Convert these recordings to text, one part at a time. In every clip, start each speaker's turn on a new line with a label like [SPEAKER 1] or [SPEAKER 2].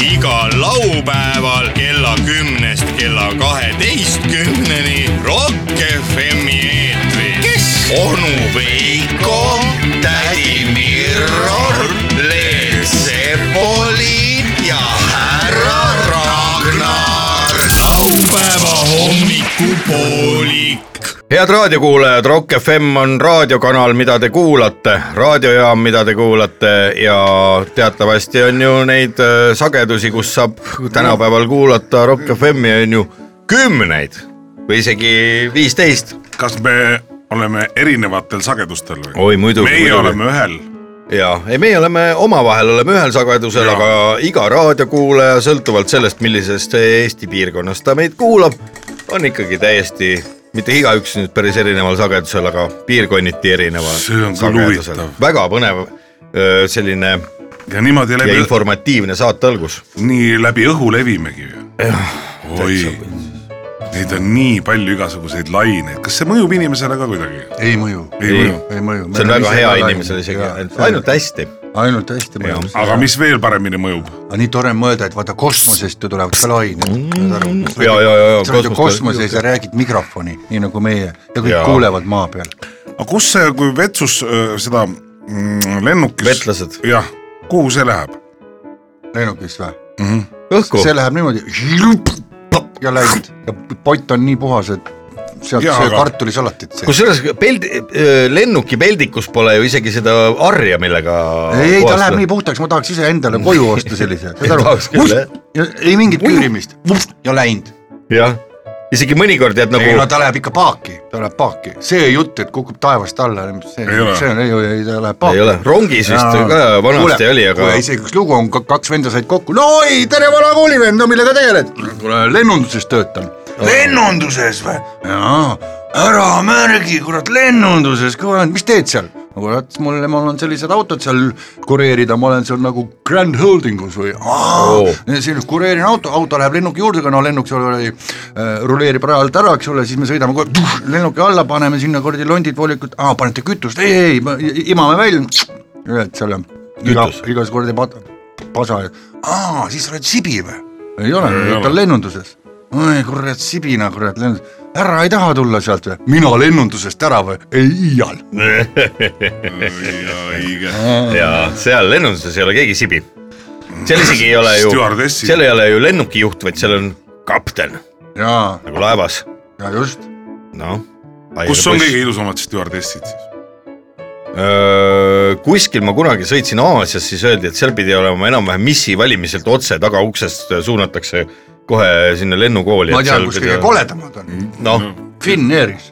[SPEAKER 1] igal laupäeval kella kümnest kella kaheteistkümneni Rock FM-i eetris . kes ? onu Veiko , tädi Mirror , Leel Sepoli ja härra Ragnar . laupäeva hommikupoolik .
[SPEAKER 2] head raadiokuulajad , Rock FM on raadiokanal , mida te kuulate , raadiojaam , mida te kuulate ja teatavasti on ju neid äh, sagedusi , kus saab tänapäeval kuulata Rock FM-i on ju kümneid või isegi viisteist .
[SPEAKER 3] kas me oleme erinevatel sagedustel või ?
[SPEAKER 2] Oi, muidugi,
[SPEAKER 3] meie
[SPEAKER 2] muidugi.
[SPEAKER 3] oleme ühel ,
[SPEAKER 2] ja ei , meie oleme omavahel oleme ühel sagedusel ,
[SPEAKER 3] Jaa.
[SPEAKER 2] aga iga raadiokuulaja sõltuvalt sellest , millisest Eesti piirkonnast ta meid kuulab , on ikkagi täiesti mitte igaüks nüüd päris erineval sagedusel , aga piirkonniti erineval
[SPEAKER 3] See on küll
[SPEAKER 2] sagedusel
[SPEAKER 3] huvitav. .
[SPEAKER 2] väga põnev öö, selline
[SPEAKER 3] ja niimoodi
[SPEAKER 2] ja
[SPEAKER 3] läbi ,
[SPEAKER 2] informatiivne saate algus .
[SPEAKER 3] nii läbi õhu levimegi ju . oi , neid on nii palju igasuguseid laineid , kas see mõjub inimesele ka kuidagi ?
[SPEAKER 4] ei mõju ,
[SPEAKER 3] ei mõju .
[SPEAKER 4] ei mõju .
[SPEAKER 2] see on väga hea inimesele isegi , ainult . hästi .
[SPEAKER 4] ainult hästi mõjub .
[SPEAKER 3] aga mis veel paremini mõjub ?
[SPEAKER 4] aga nii tore on mõelda , et vaata kosmosest ju tulevad ka lained .
[SPEAKER 2] ja , ja , ja ,
[SPEAKER 4] sa oled ju kosmoses ja räägid mikrofoni , nii nagu meie ja kõik
[SPEAKER 2] Jaa.
[SPEAKER 4] kuulevad maa peal .
[SPEAKER 3] aga kus see , kui vetsus öö, seda mm, lennukis .
[SPEAKER 2] Vetlased.
[SPEAKER 3] jah , kuhu see läheb ? Mhm.
[SPEAKER 4] lennukis või ?
[SPEAKER 2] õhku .
[SPEAKER 4] see läheb niimoodi ja läinud ja pott on nii puhas , et sealt
[SPEAKER 3] Jaa,
[SPEAKER 4] söö
[SPEAKER 3] aga-
[SPEAKER 4] kartulisalatit .
[SPEAKER 2] kusjuures peldi- , lennuki peldikus pole ju isegi seda arja , millega
[SPEAKER 4] ei , ei ta läheb nii puhtaks , ma tahaks iseendale koju osta sellise , saad
[SPEAKER 2] Tahaks küll,
[SPEAKER 4] aru
[SPEAKER 2] jah. ?
[SPEAKER 4] ei mingit küürimist ja läinud .
[SPEAKER 2] jah , isegi mõnikord jääd
[SPEAKER 4] ei no
[SPEAKER 2] nagu ,
[SPEAKER 4] ta läheb ikka paaki , ta läheb paaki , see jutt , et kukub taevast alla , see
[SPEAKER 3] Ei ole. ,
[SPEAKER 4] see on , ei , ei ta läheb paaki .
[SPEAKER 2] ei ole , rongis vist ka vanasti oli , aga
[SPEAKER 4] kuule , isegi üks lugu on , kaks venda said kokku , no oi , tere , vana koolivend , no millega tegeled ? kuule , lennunduses töötan . lennunduses või ? jaa , ära märgi , kurat , lennunduses , kurat , mis teed seal ? no kurat , mul , mul on sellised autod seal kureerida , ma olen seal nagu Grand Holdingus või
[SPEAKER 2] Oo.
[SPEAKER 4] aa , siin kureerin auto , auto läheb lennuki juurde , aga no lennuk seal oli , ruleerib raja alt ära , eks ole , siis me sõidame kohe tuh, lennuki alla , paneme sinna kuradi londid , voolikud , aa panete kütust , ei , ei , imame välja , et seal on iga
[SPEAKER 2] Kütus. ,
[SPEAKER 4] igas kuradi pat- , pasa , aa siis oled sibi või ? ei ole
[SPEAKER 3] Ei ,
[SPEAKER 4] ta
[SPEAKER 3] ole.
[SPEAKER 4] on lennunduses . oi kurat , sibina kurat lennundus , ära ei taha tulla sealt või ? mina lennundusest ära või ? ei iial .
[SPEAKER 3] õige .
[SPEAKER 2] ja seal lennunduses ei ole keegi sibi . seal isegi ei ole ju ,
[SPEAKER 3] Stjuardessi.
[SPEAKER 2] seal ei ole ju lennukijuht , vaid seal on kapten
[SPEAKER 4] jaa ,
[SPEAKER 2] nagu laevas ,
[SPEAKER 4] ja just ,
[SPEAKER 2] noh .
[SPEAKER 3] kus on kõige ilusamad stjuardessid siis ?
[SPEAKER 2] Öö, kuskil ma kunagi sõitsin Aasias , siis öeldi , et seal pidi olema enam-vähem missi valimiselt otse tagauksest suunatakse kohe sinna lennukooli .
[SPEAKER 4] ma tean , kus kõige . Mm. koledamad on ,
[SPEAKER 2] noh ,
[SPEAKER 4] Finnairis ,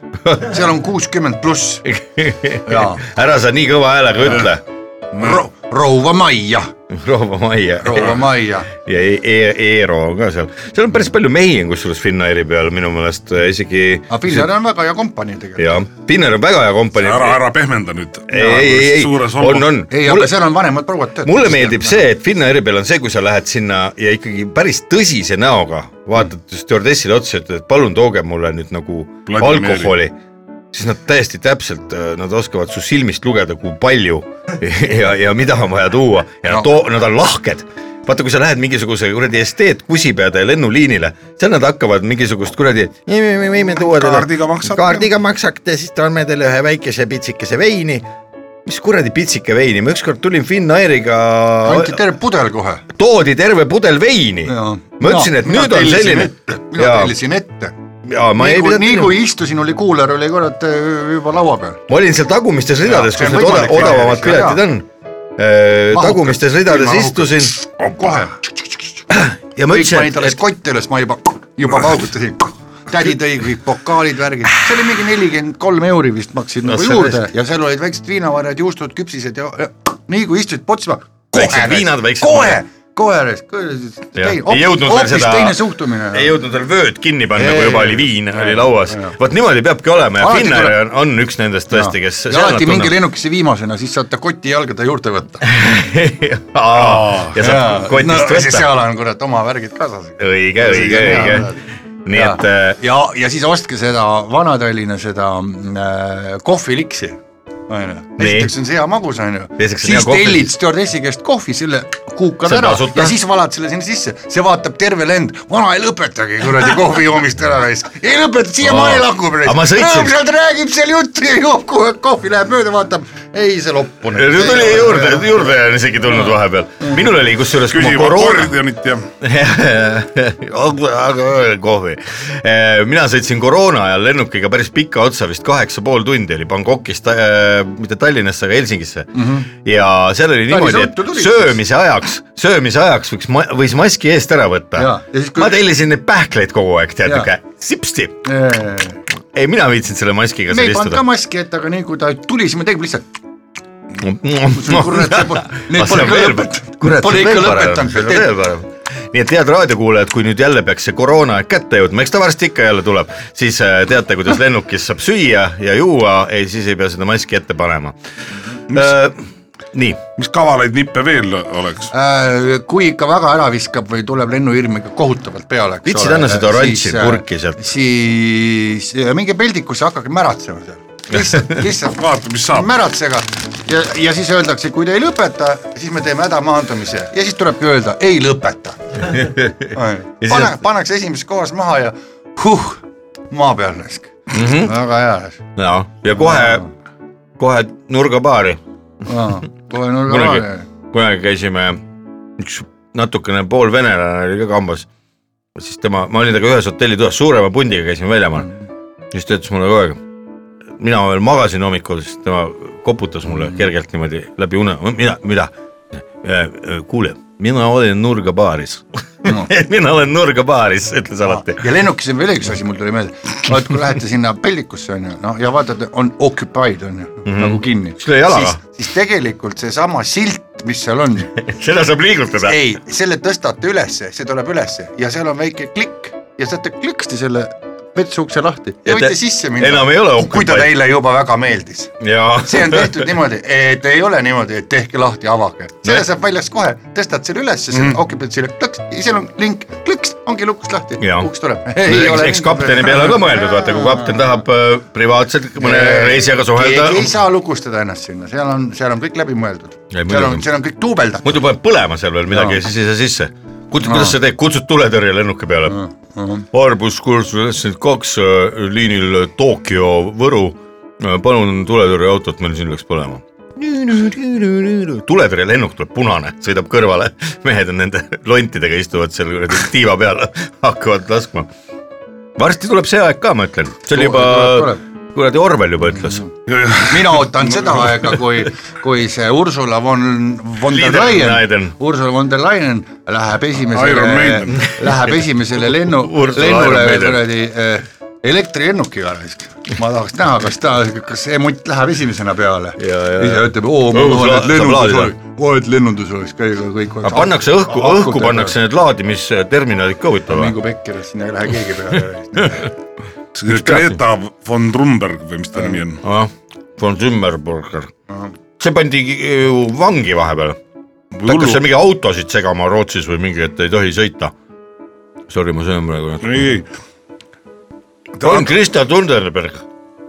[SPEAKER 4] seal on kuuskümmend pluss jaa
[SPEAKER 2] ära sa nii kõva häälega ütle ,
[SPEAKER 4] Ro- , Rouva Maia ,
[SPEAKER 2] Rooma Maie
[SPEAKER 4] Rouva Maia ,
[SPEAKER 2] ja E- E- Eero on ka seal , seal on päris palju mehi on kusjuures Finnairi peal minu meelest eh, isegi .
[SPEAKER 4] aga Finnair on väga hea kompanii tegelikult .
[SPEAKER 2] jah , Finnair on väga hea kompanii .
[SPEAKER 3] ära , ära pehmenda nüüd .
[SPEAKER 2] ei , ei , ei , on , on .
[SPEAKER 4] ei , aga seal on vanemad prouad töötavad .
[SPEAKER 2] mulle meeldib . see , et Finnairi peal on see , kui sa lähed sinna ja ikkagi päris tõsise näoga vaatad stjuardessile otsa , ütled , et palun tooge mulle nüüd nagu
[SPEAKER 3] Vladimiiri.
[SPEAKER 2] alkoholi , siis nad täiesti täpselt , nad oskavad su silmist lugeda , kui palju ja , ja mida on vaja tuua ja
[SPEAKER 4] No.
[SPEAKER 2] no. too , nad on lahked vaata , kui sa lähed mingisuguse kuradi esteet kusipeade lennuliinile , seal nad hakkavad mingisugust kuradi .
[SPEAKER 3] Kaardiga maksate.
[SPEAKER 2] kaardiga maksate , siis toome teile ühe väikese pitsikese veini . mis kuradi pitsike veini , ma ükskord tulin Finnairiga
[SPEAKER 4] anti terve pudel kohe .
[SPEAKER 2] toodi terve pudel veini . ma ütlesin , et nüüd on selline .
[SPEAKER 4] mina tellisin ette .
[SPEAKER 2] ja ma ei
[SPEAKER 4] nii kui , nii
[SPEAKER 2] pidanud ,
[SPEAKER 4] kui istusin , oli kuuler oli kurat eh, juba laua peal .
[SPEAKER 2] ma olin seal tagumistes ridades ,
[SPEAKER 4] see
[SPEAKER 2] kus
[SPEAKER 4] on
[SPEAKER 2] need oda-
[SPEAKER 4] võimalik
[SPEAKER 2] odavamad
[SPEAKER 4] Finairis,
[SPEAKER 2] piletid on .
[SPEAKER 4] Mahukas.
[SPEAKER 2] tagumistes ridades
[SPEAKER 4] Ilma
[SPEAKER 2] istusin
[SPEAKER 4] kohe .
[SPEAKER 2] ja ma
[SPEAKER 4] kõik
[SPEAKER 2] ütlesin ,
[SPEAKER 4] panid
[SPEAKER 2] et ,
[SPEAKER 4] alles
[SPEAKER 2] et
[SPEAKER 4] kotti üles , ma juba , juba paugutasin . tädi tõi kõik pokaalid , värgid , see oli mingi nelikümmend kolm euri vist maksid
[SPEAKER 2] No
[SPEAKER 4] nagu
[SPEAKER 2] see
[SPEAKER 4] juurde
[SPEAKER 2] vist-
[SPEAKER 4] ja seal olid väiksed viinavarjad , juustud , küpsised ja, ja nii kui istusid potsima .
[SPEAKER 2] Väiksed viinad, väiksed
[SPEAKER 4] kohe , kohe ,
[SPEAKER 2] Jah,
[SPEAKER 4] kohe .
[SPEAKER 2] ei jõudnud veel seda ,
[SPEAKER 4] teine suhtumine . Noh.
[SPEAKER 2] ei jõudnud veel vööd kinni panna ,
[SPEAKER 4] Ei,
[SPEAKER 2] kui juba
[SPEAKER 4] ei,
[SPEAKER 2] oli viin
[SPEAKER 4] ei,
[SPEAKER 2] oli lauas
[SPEAKER 4] ei. .
[SPEAKER 2] vot niimoodi peabki olema ja
[SPEAKER 4] Alati
[SPEAKER 2] Finnair
[SPEAKER 4] tuleb-
[SPEAKER 2] on, on üks nendest tõesti , kes .
[SPEAKER 4] ja alati minge lennukisse viimasena , siis saate koti jalgade juurde võtta .
[SPEAKER 2] ja saab kotist võtta .
[SPEAKER 4] seal on kurat oma värgid kaasas .
[SPEAKER 2] õige , õige , õige . nii
[SPEAKER 4] ja,
[SPEAKER 2] et äh,
[SPEAKER 4] ja , ja siis ostke seda Vana-Tallinna seda mm, äh, kohviliksi , onju . esiteks on see hea magus , onju .
[SPEAKER 2] Teiseks on hea
[SPEAKER 4] siis
[SPEAKER 2] kohvi.
[SPEAKER 4] tellid stjuardessi käest kohvi , selle kuukad
[SPEAKER 2] See on
[SPEAKER 4] ära
[SPEAKER 2] tasuta.
[SPEAKER 4] ja siis valad selle sinna sisse , see vaatab terve lend , vana ei lõpetagi kuradi kohvi joomist ära raisk , ei lõpeta , siiamaani
[SPEAKER 2] Aa,
[SPEAKER 4] lakub
[SPEAKER 2] aga ma sõitsin-
[SPEAKER 4] rõõmsalt räägib seal juttu ja joob kogu aeg kohvi , läheb mööda , vaatab , ei see loppu
[SPEAKER 2] Ja nüüd tuli juurde , juurde on isegi tulnud vahepeal . minul oli kusjuures , kui ma
[SPEAKER 3] küsib
[SPEAKER 2] koroona ,
[SPEAKER 3] akordionit ja
[SPEAKER 2] kohvi , mina sõitsin koroona ajal lennukiga päris pika otsa , vist kaheksa pool tundi oli Bangkokist , mitte Tallinnasse , aga Helsingisse mm . -hmm. ja seal oli
[SPEAKER 4] Mhm. Päris
[SPEAKER 2] niimoodi ,
[SPEAKER 4] ruttu tulid
[SPEAKER 2] et söömise ajaks , söömise ajaks võiks , võis maski eest ära võtta
[SPEAKER 4] Jaa, ja siis, . kui-
[SPEAKER 2] ma tellisin neid pähkleid kogu aeg , tead
[SPEAKER 4] Jaa.
[SPEAKER 2] niuke sipsti ,
[SPEAKER 4] me
[SPEAKER 2] ei mina viitsin selle maskiga seal
[SPEAKER 4] ei pannud ka
[SPEAKER 2] istuda .
[SPEAKER 4] maski ette , aga nii kui ta tuli , siis me tegime lihtsalt , kurat , see pole , need pole ka lõpetanud , pole ikka lõpetanud .
[SPEAKER 2] nii et head raadiokuulajad , kui nüüd jälle peaks see koroona aeg kätte jõudma , eks ta varsti ikka jälle tuleb , siis äh, teate , kuidas lennukis saab süüa ja juua , ei siis ei pea seda maski ette panema . nii ,
[SPEAKER 3] mis kavalaid nippe veel oleks ?
[SPEAKER 4] Äh, kui ikka väga ära viskab või tuleb lennuirmiga kohutavalt peale , eks
[SPEAKER 2] Vitsid, anna seda oranži purki sealt.
[SPEAKER 4] äh, siis ja minge peldikusse , hakake märatsema seal , lihtsalt , lihtsalt
[SPEAKER 3] vaata , mis saab .
[SPEAKER 4] märatsega ja , ja siis öeldakse , kui te ei lõpeta , siis me teeme hädamaandumise ja siis tulebki öelda ei lõpeta .
[SPEAKER 2] siis-
[SPEAKER 4] pane , pannakse esimeses kohas maha ja huh , maa peal raisk mm , -hmm. väga hea .
[SPEAKER 2] no ja Mhm. kohe , kohe nurgabaari ,
[SPEAKER 4] kohe nurga
[SPEAKER 2] kunagi
[SPEAKER 4] maha ,
[SPEAKER 2] kunagi käisime , üks natukene poolvenelane oli ka kambas , siis tema , ma olin temaga ühes hotellitoas , suurema pundiga käisime väljamaal , siis ta ütles mulle kogu aeg , mina veel magasin hommikul , siis tema koputas mulle kergelt niimoodi läbi une , mida , mida , kuule , mina olen nurgabaaris
[SPEAKER 4] No. .
[SPEAKER 2] mina olen nurgabaaris , ütles alati .
[SPEAKER 4] ja lennukis on veel üks asi , mul tuli meelde , vaat kui lähete sinna peldikusse onju , noh ja vaatad , on occupied onju mm ,
[SPEAKER 2] Mhm.
[SPEAKER 4] -hmm. nagu kinni .
[SPEAKER 2] Siis löö jalaga.
[SPEAKER 4] siis , siis tegelikult seesama silt , mis seal on ,
[SPEAKER 2] seda saab liigutada .
[SPEAKER 4] ei , selle tõstate ülesse , see tuleb ülesse ja seal on väike klikk ja saate klõksti selle vetsuukse lahti
[SPEAKER 2] Ja
[SPEAKER 4] ja, ja võite
[SPEAKER 2] te-
[SPEAKER 4] te... sisse minna .
[SPEAKER 2] enam ei ole occupied.
[SPEAKER 4] kui ta teile juba väga meeldis
[SPEAKER 2] jaa .
[SPEAKER 4] see on tehtud niimoodi , et ei ole niimoodi , et tehke lahti , avage , selle saab väljast kohe , tõstad selle ülesse , see
[SPEAKER 2] Mhm.
[SPEAKER 4] okupant selle klõks , seal on link , klõks , ongi lukus lahti
[SPEAKER 2] Jaa. ,
[SPEAKER 4] uks tuleb .
[SPEAKER 2] eks, eks kapteni peale on ka mõeldud , vaata kui kapten tahab äh, privaatselt mõne reisijaga suhelda
[SPEAKER 4] keegi , ei saa lukustada ennast sinna , seal on , seal on kõik läbi mõeldud ,
[SPEAKER 2] Ei,
[SPEAKER 4] seal on
[SPEAKER 2] muidugi. ,
[SPEAKER 4] seal on kõik duubeldatud .
[SPEAKER 2] muidu paneb põlema seal veel midagi ja siis ei saa sisse . kuidas sa teed , kutsud tuletõrje lennuki peale ? Airbus kuuskümmend kaks äh, liinil Tokyo , Võru , palun tuletõrjeautot , meil siin läks põlema . tuletõrjelennuk tuleb punane , sõidab kõrvale , mehed on nende lontidega , istuvad seal kuradi tiiva peal , hakkavad laskma . varsti tuleb see aeg ka , ma ütlen , see oli
[SPEAKER 4] Tuleb,
[SPEAKER 2] juba
[SPEAKER 4] tuleb. , Mm.
[SPEAKER 2] kuradi Orwell juba ütles
[SPEAKER 4] mina ootan seda aega , kui , kui see Ursula von , von der Leyen
[SPEAKER 2] Leiden. ,
[SPEAKER 4] Ursula von der Leyen läheb
[SPEAKER 3] Iron Maiden.
[SPEAKER 4] esimesele , läheb esimesele lennu ,
[SPEAKER 2] Ursula
[SPEAKER 4] lennule
[SPEAKER 2] Iron Maiden.
[SPEAKER 4] kuradi eh, elektrilennukiga raisk . ma tahaks näha , kas ta , kas see mutt läheb esimesena peale .
[SPEAKER 2] Ja, ja, ja.
[SPEAKER 4] ise ütleb , oo , ma
[SPEAKER 2] Õhus
[SPEAKER 4] tahan ,
[SPEAKER 2] la-
[SPEAKER 4] et
[SPEAKER 2] saab
[SPEAKER 4] lennundus
[SPEAKER 2] laadida.
[SPEAKER 4] oleks , et lennundus oleks kõigega kõik .
[SPEAKER 2] aga pannakse õhku , õhku pannakse . need laadimisterminalid ka huvitava .
[SPEAKER 4] mingu pekki , sinna ei lähe keegi peale .
[SPEAKER 3] Greta von Trumberg või mis ta nimi on ?
[SPEAKER 2] von Zimmerburger . see pandi ju vangi vahepeal . ta hakkas seal mingi autosid segama Rootsis või mingi , et ei tohi sõita . Sorry , ma söön praegu natuke .
[SPEAKER 3] ei ,
[SPEAKER 2] on Krista Tundenberg .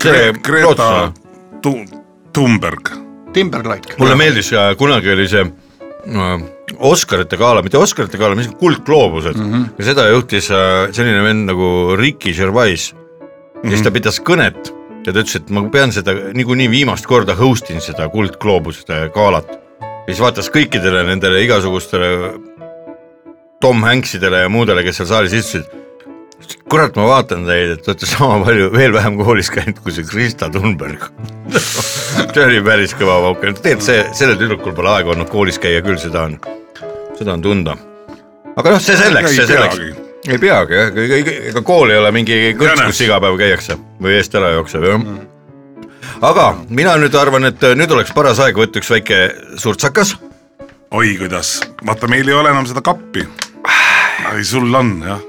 [SPEAKER 2] see
[SPEAKER 3] Greta
[SPEAKER 2] rootslane .
[SPEAKER 3] Tu- Thunberg .
[SPEAKER 4] Timberlake .
[SPEAKER 2] mulle meeldis , kunagi oli see äh, Oscarite gala , mitte Oscarite gala , mis kuldgloobused mm -hmm. ja seda juhtis äh, selline vend nagu Ricky Gervais mm . -hmm. ja siis ta pidas kõnet ja ta ütles , et ma pean seda niikuinii viimast korda host in seda kuldgloobuste galat . ja siis vaatas kõikidele nendele igasugustele Tom Hanksidele ja muudele , kes seal saalis istusid . kurat , ma vaatan teid , et te olete sama palju , veel vähem koolis käinud kui see Krista Thunberg see oli päris kõva pauk , tegelikult see , sellel tüdrukul pole aega olnud koolis käia küll , seda on , seda on tunda . aga noh , see selleks ,
[SPEAKER 3] Ei
[SPEAKER 2] see selleks
[SPEAKER 3] peagi. .
[SPEAKER 2] ei peagi jah , ega ega kool ei ole mingi kõrts ,
[SPEAKER 3] Jänes.
[SPEAKER 2] kus iga päev käiakse või eest ära jookseb jah .
[SPEAKER 3] Mm.
[SPEAKER 2] aga mina nüüd arvan , et nüüd oleks paras aeg võtta üks väike surtsakas ,
[SPEAKER 3] oi kuidas , vaata , meil ei ole enam seda kappi . ei , sul on jah ,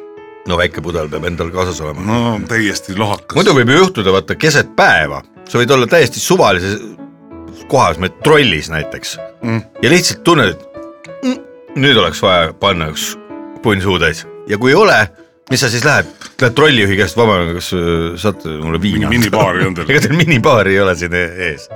[SPEAKER 2] no väike pudel peab endal kaasas olema .
[SPEAKER 3] no täiesti lohakas .
[SPEAKER 2] muidu võib ju juhtuda , vaata keset päeva , sa võid olla täiesti suvalises kohas , trollis näiteks mm. ja lihtsalt tunned , et mm, nüüd oleks vaja panna üks punn suutäis ja kui ei ole , mis sa siis lähed , lähed trollijuhi käest , vabandage , kas öö, saate äh, mulle viina ?
[SPEAKER 3] minipaari on teil
[SPEAKER 2] ega teil minibaari ei ole siin e- ees ?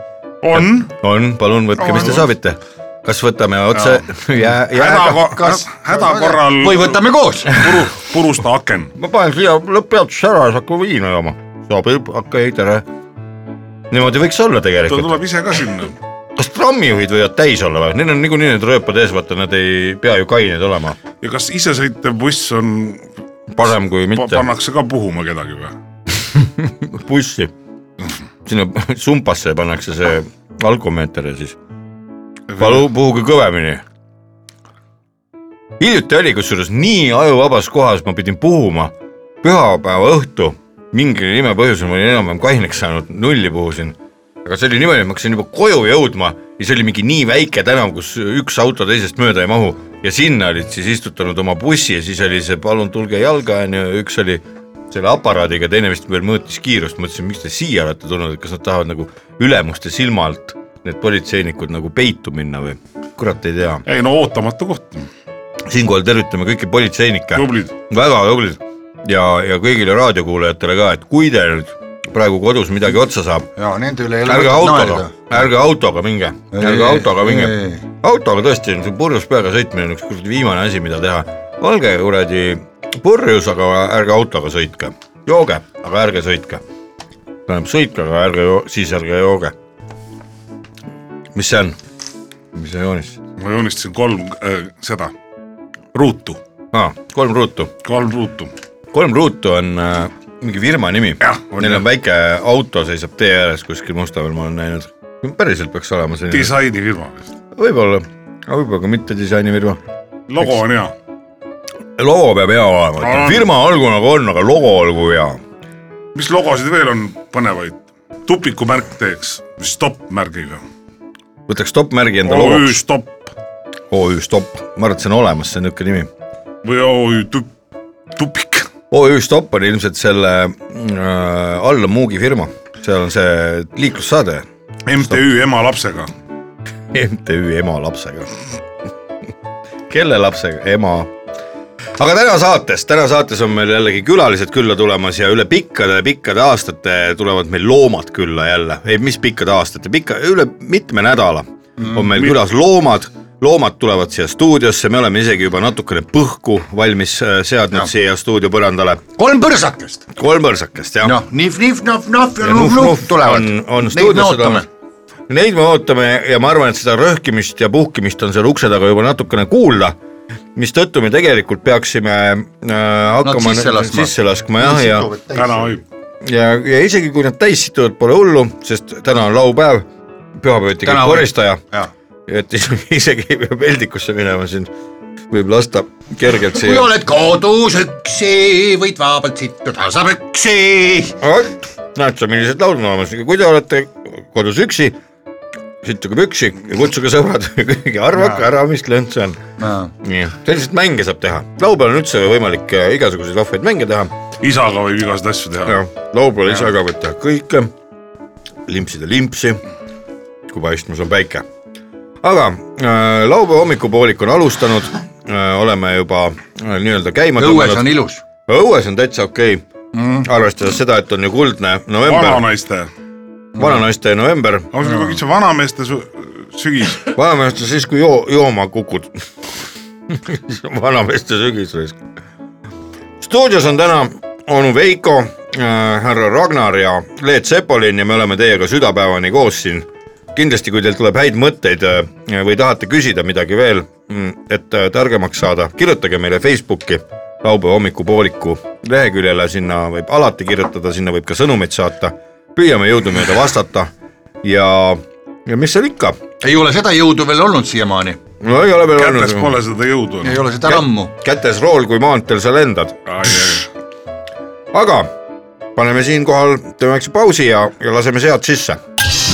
[SPEAKER 3] on ,
[SPEAKER 2] on , palun võtke , mis te soovite . kas võtame otse jää , jääga ,
[SPEAKER 3] häda , häda korral
[SPEAKER 4] või võtame koos .
[SPEAKER 3] puru, purusta aken .
[SPEAKER 2] ma panen siia lõpppeatusse ära ja siis hakkan viina jooma . sobib , okei okay, , tere . niimoodi võiks olla
[SPEAKER 3] ta
[SPEAKER 2] tegelikult .
[SPEAKER 3] tuleb ise ka sinna .
[SPEAKER 2] kas trammijuhid võivad täis olla või ? Neil on niikuinii need rööpad ees , vaata , nad ei pea ju kained olema .
[SPEAKER 3] ja kas isesõitev buss on ,
[SPEAKER 2] parem kui mitte .
[SPEAKER 3] pannakse ka puhuma kedagi või ?
[SPEAKER 2] bussi . sinna sumpasse pannakse see alkomeeter ja siis palu , puhuge kõvemini . hiljuti oli kusjuures nii ajuvabas kohas , ma pidin puhuma pühapäeva õhtu , mingil imepõhjusel ma olin enam-vähem kaineks saanud , nulli puhusin . aga see oli niimoodi , et ma hakkasin juba koju jõudma ja see oli mingi nii väike tänav , kus üks auto teisest mööda ei mahu ja sinna olid siis istutanud oma bussi ja siis oli see palun tulge jalga onju , üks oli selle aparaadiga , teine vist veel mõõtis kiirust , mõtlesin , miks te siia olete tulnud , et kas nad tahavad nagu ülemuste silma alt need politseinikud nagu peitu minna või kurat ei tea .
[SPEAKER 3] ei no ootamatu koht ,
[SPEAKER 2] siinkohal tervitame kõiki politseinikke ,
[SPEAKER 3] tublid .
[SPEAKER 2] väga tublid ja , ja kõigile raadiokuulajatele ka , et kui teil nüüd praegu kodus midagi otsa saab ,
[SPEAKER 4] ja nende üle ei ole
[SPEAKER 2] ärge
[SPEAKER 4] mõtet
[SPEAKER 2] autoga
[SPEAKER 4] naerda .,
[SPEAKER 2] ärge autoga minge , ärge
[SPEAKER 4] Ei,
[SPEAKER 2] autoga minge
[SPEAKER 4] ei. .
[SPEAKER 2] autoga tõesti , see purjus peaga sõitmine on üks kuradi viimane asi , mida teha . olge kuradi purjus , aga ärge autoga sõitke , jooge , aga ärge sõitke . tähendab , sõitke , aga ärge , siis ärge jooge . mis see on ? mis see joonis ?
[SPEAKER 3] ma joonistasin kolm äh, seda , ruutu ,
[SPEAKER 2] aa , kolm ruutu
[SPEAKER 3] kolm ruutu .
[SPEAKER 2] kolm ruutu on äh, mingi firma nimi
[SPEAKER 3] Jah, , on
[SPEAKER 2] neil
[SPEAKER 3] jah.
[SPEAKER 2] on väike auto seisab tee ääres kuskil Mustamäel , ma olen näinud . päriselt peaks olema selline ,
[SPEAKER 3] disainifirma vist ,
[SPEAKER 2] võib-olla , aga võib-olla ka mitte disainifirma .
[SPEAKER 3] logo on hea .
[SPEAKER 2] logo peab hea olema ,
[SPEAKER 3] On.
[SPEAKER 2] firma olgu nagu on , aga logo olgu hea .
[SPEAKER 3] mis logosid veel on põnevaid ? tupikumärk teeks , stopp märgiga ,
[SPEAKER 2] võtaks stopp-märgi enda
[SPEAKER 3] OÜ
[SPEAKER 2] logoks ,
[SPEAKER 3] stopp
[SPEAKER 2] OÜ Stopp , ma arvan , et see on olemas , see on niisugune nimi .
[SPEAKER 3] või OÜ tup- , tupik .
[SPEAKER 2] OÜ Stopp on ilmselt selle äh, Allan Muugi firma , seal on see liiklussaade
[SPEAKER 3] MTÜ ema lapsega ,
[SPEAKER 2] MTÜ ema lapsega . kelle lapsega ? ema . aga täna saates , täna saates on meil jällegi külalised külla tulemas ja üle pikkade-pikkade aastate tulevad meil loomad külla jälle , ei mis pikkade aastate , pikka , üle mitme nädala on meil külas loomad loomad tulevad siia stuudiosse , me oleme isegi juba natukene põhku valmis äh, seadnud siia stuudio põrandale .
[SPEAKER 4] kolm põrsakest .
[SPEAKER 2] kolm põrsakest , jah
[SPEAKER 4] noh , nihv-nihv-nahv-nahv ja
[SPEAKER 2] ja
[SPEAKER 4] nuhv-nuhv tulevad .
[SPEAKER 2] on , on stuudiosse tulemas . Neid me ootame ja ma arvan , et seda röhkimist ja puhkimist on seal ukse taga juba natukene kuulda , mistõttu me tegelikult peaksime äh, hakkama
[SPEAKER 4] sisse
[SPEAKER 2] nüüd
[SPEAKER 4] laskma.
[SPEAKER 2] sisse laskma jah , ja ,
[SPEAKER 3] täna võib ,
[SPEAKER 2] ja , ja isegi kui nad täis situvad , pole hullu , sest täna on laupäev , pühapäeviti
[SPEAKER 4] Täna
[SPEAKER 2] käib
[SPEAKER 4] võib.
[SPEAKER 2] koristaja ,
[SPEAKER 4] jah
[SPEAKER 2] et isegi ei pea peldikusse minema siin , võib lasta kergelt
[SPEAKER 4] kui
[SPEAKER 2] siia .
[SPEAKER 4] oled kodus üksi , võid vabalt sittuda sabüksi .
[SPEAKER 2] vot , näed sa , millised laulud on olemas , kui te olete kodus üksi , sittuge püksi ja kutsuge sõbrad , arvake ära , mis klõnt see on . nii , selliseid mänge saab teha , laupäeval on üldse võimalik äh, igasuguseid vahvaid mänge teha ,
[SPEAKER 3] isaga võib igasuguseid asju teha .
[SPEAKER 2] laupäeval ise ka võib teha kõike , limpsida limpsi , kui paistmas on päike . aga äh, laupäeva hommikupoolik on alustanud äh, , oleme juba äh, nii-öelda käima
[SPEAKER 4] õues on Mm. ilus .
[SPEAKER 2] õues on täitsa okei okay. , arvestades seda , et on ju kuldne november .
[SPEAKER 3] vananaiste ,
[SPEAKER 2] vananaiste november ,
[SPEAKER 3] ausalt öeldes see vanameeste su- sügis ,
[SPEAKER 2] vanameeste siis , kui joo- , jooma kukud . vanameeste sügis raisk . stuudios on täna onu Veiko äh, , härra Ragnar ja Leet Sepolin ja me oleme teiega südapäevani koos siin . kindlasti , kui teil tuleb häid mõtteid äh, või tahate küsida midagi veel , et äh, targemaks saada , kirjutage meile Facebooki laupäeva hommikupooliku leheküljele , sinna võib alati kirjutada , sinna võib ka sõnumeid saata . püüame jõudumööda vastata ja , ja mis seal ikka
[SPEAKER 4] ei ole seda jõudu veel olnud siiamaani ,
[SPEAKER 2] no ei ole veel
[SPEAKER 3] kätes
[SPEAKER 2] olnud .
[SPEAKER 3] pole seda jõudu .
[SPEAKER 4] ei ole seda ammu .
[SPEAKER 2] kätes rool , kui maanteel sa lendad , aga paneme siinkohal , teeme väikse pausi ja , ja laseme sead sisse .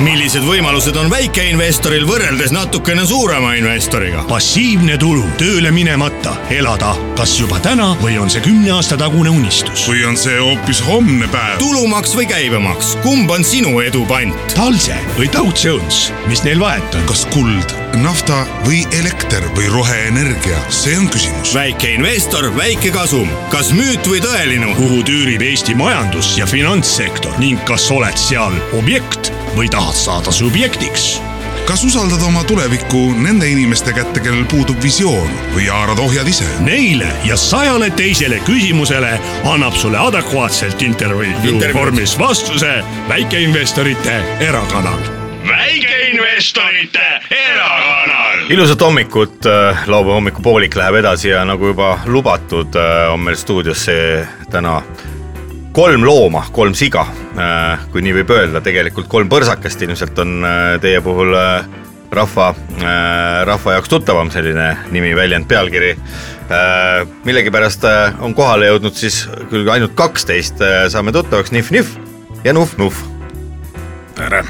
[SPEAKER 1] millised võimalused on väikeinvestoril võrreldes natukene suurema investoriga ?
[SPEAKER 5] passiivne tulu tööle minemata , elada , kas juba täna või on see kümne aasta tagune unistus .
[SPEAKER 3] või on see hoopis homne päev ?
[SPEAKER 1] tulumaks või käibemaks , kumb on sinu edu pant ?
[SPEAKER 5] Talse või Tautse õnns , mis neil vahet on ?
[SPEAKER 6] kas kuld , nafta või elekter või roheenergia , see on küsimus .
[SPEAKER 1] väikeinvestor , väike kasum , kas müüt või tõeline ?
[SPEAKER 5] kuhu tüürib Eesti majandus ja finantssektor ning kas oled seal objekt või tahad saada subjektiks ?
[SPEAKER 6] kas usaldad oma tulevikku nende inimeste kätte , kellel puudub visioon või haarad ohjad ise ?
[SPEAKER 5] Neile ja sajale teisele küsimusele annab sulle adekvaatselt intervjuu
[SPEAKER 1] Intervjuu.
[SPEAKER 5] vormis vastuse väikeinvestorite erakanal . väikeinvestorite erakanal .
[SPEAKER 2] ilusat hommikut , laupäeva hommikupoolik läheb edasi ja nagu juba lubatud , on meil stuudios see täna kolm looma , kolm siga , kui nii võib öelda , tegelikult kolm põrsakast ilmselt on äh, teie puhul äh, rahva , rahva jaoks tuttavam selline nimi , väljend , pealkiri . millegipärast äh, on kohale jõudnud siis küll ainult kaksteist , saame tuttavaks Nihv-Nihv ja Nuhv-Nuhv .
[SPEAKER 3] tere .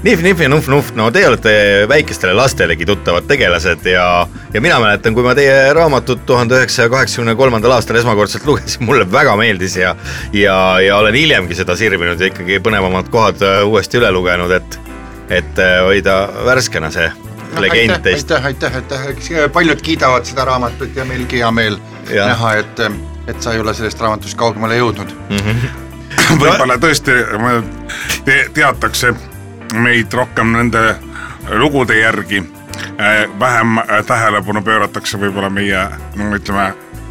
[SPEAKER 2] Nihv , nihv ja nuhv , nuhv , no te olete väikestele lastelegi tuttavad tegelased ja , ja mina mäletan , kui ma teie raamatut tuhande üheksasaja kaheksakümne kolmandal aastal esmakordselt lugesin , mulle väga meeldis ja , ja , ja olen hiljemgi seda sirvinud ja ikkagi põnevamad kohad äh, uuesti üle lugenud , et , et äh, hoida värskena see legend teist .
[SPEAKER 4] aitäh , aitäh , aitäh , eks eh, paljud kiidavad seda raamatut ja meilgi hea meel
[SPEAKER 2] Jah.
[SPEAKER 4] ja. näha , et , et sa ei ole sellest raamatust kaugemale jõudnud .
[SPEAKER 2] Mm.
[SPEAKER 3] võib-olla tõesti me- te, teatakse meid rohkem nende lugude järgi . vähem äh, tähelepanu pööratakse võib-olla meie , no ütleme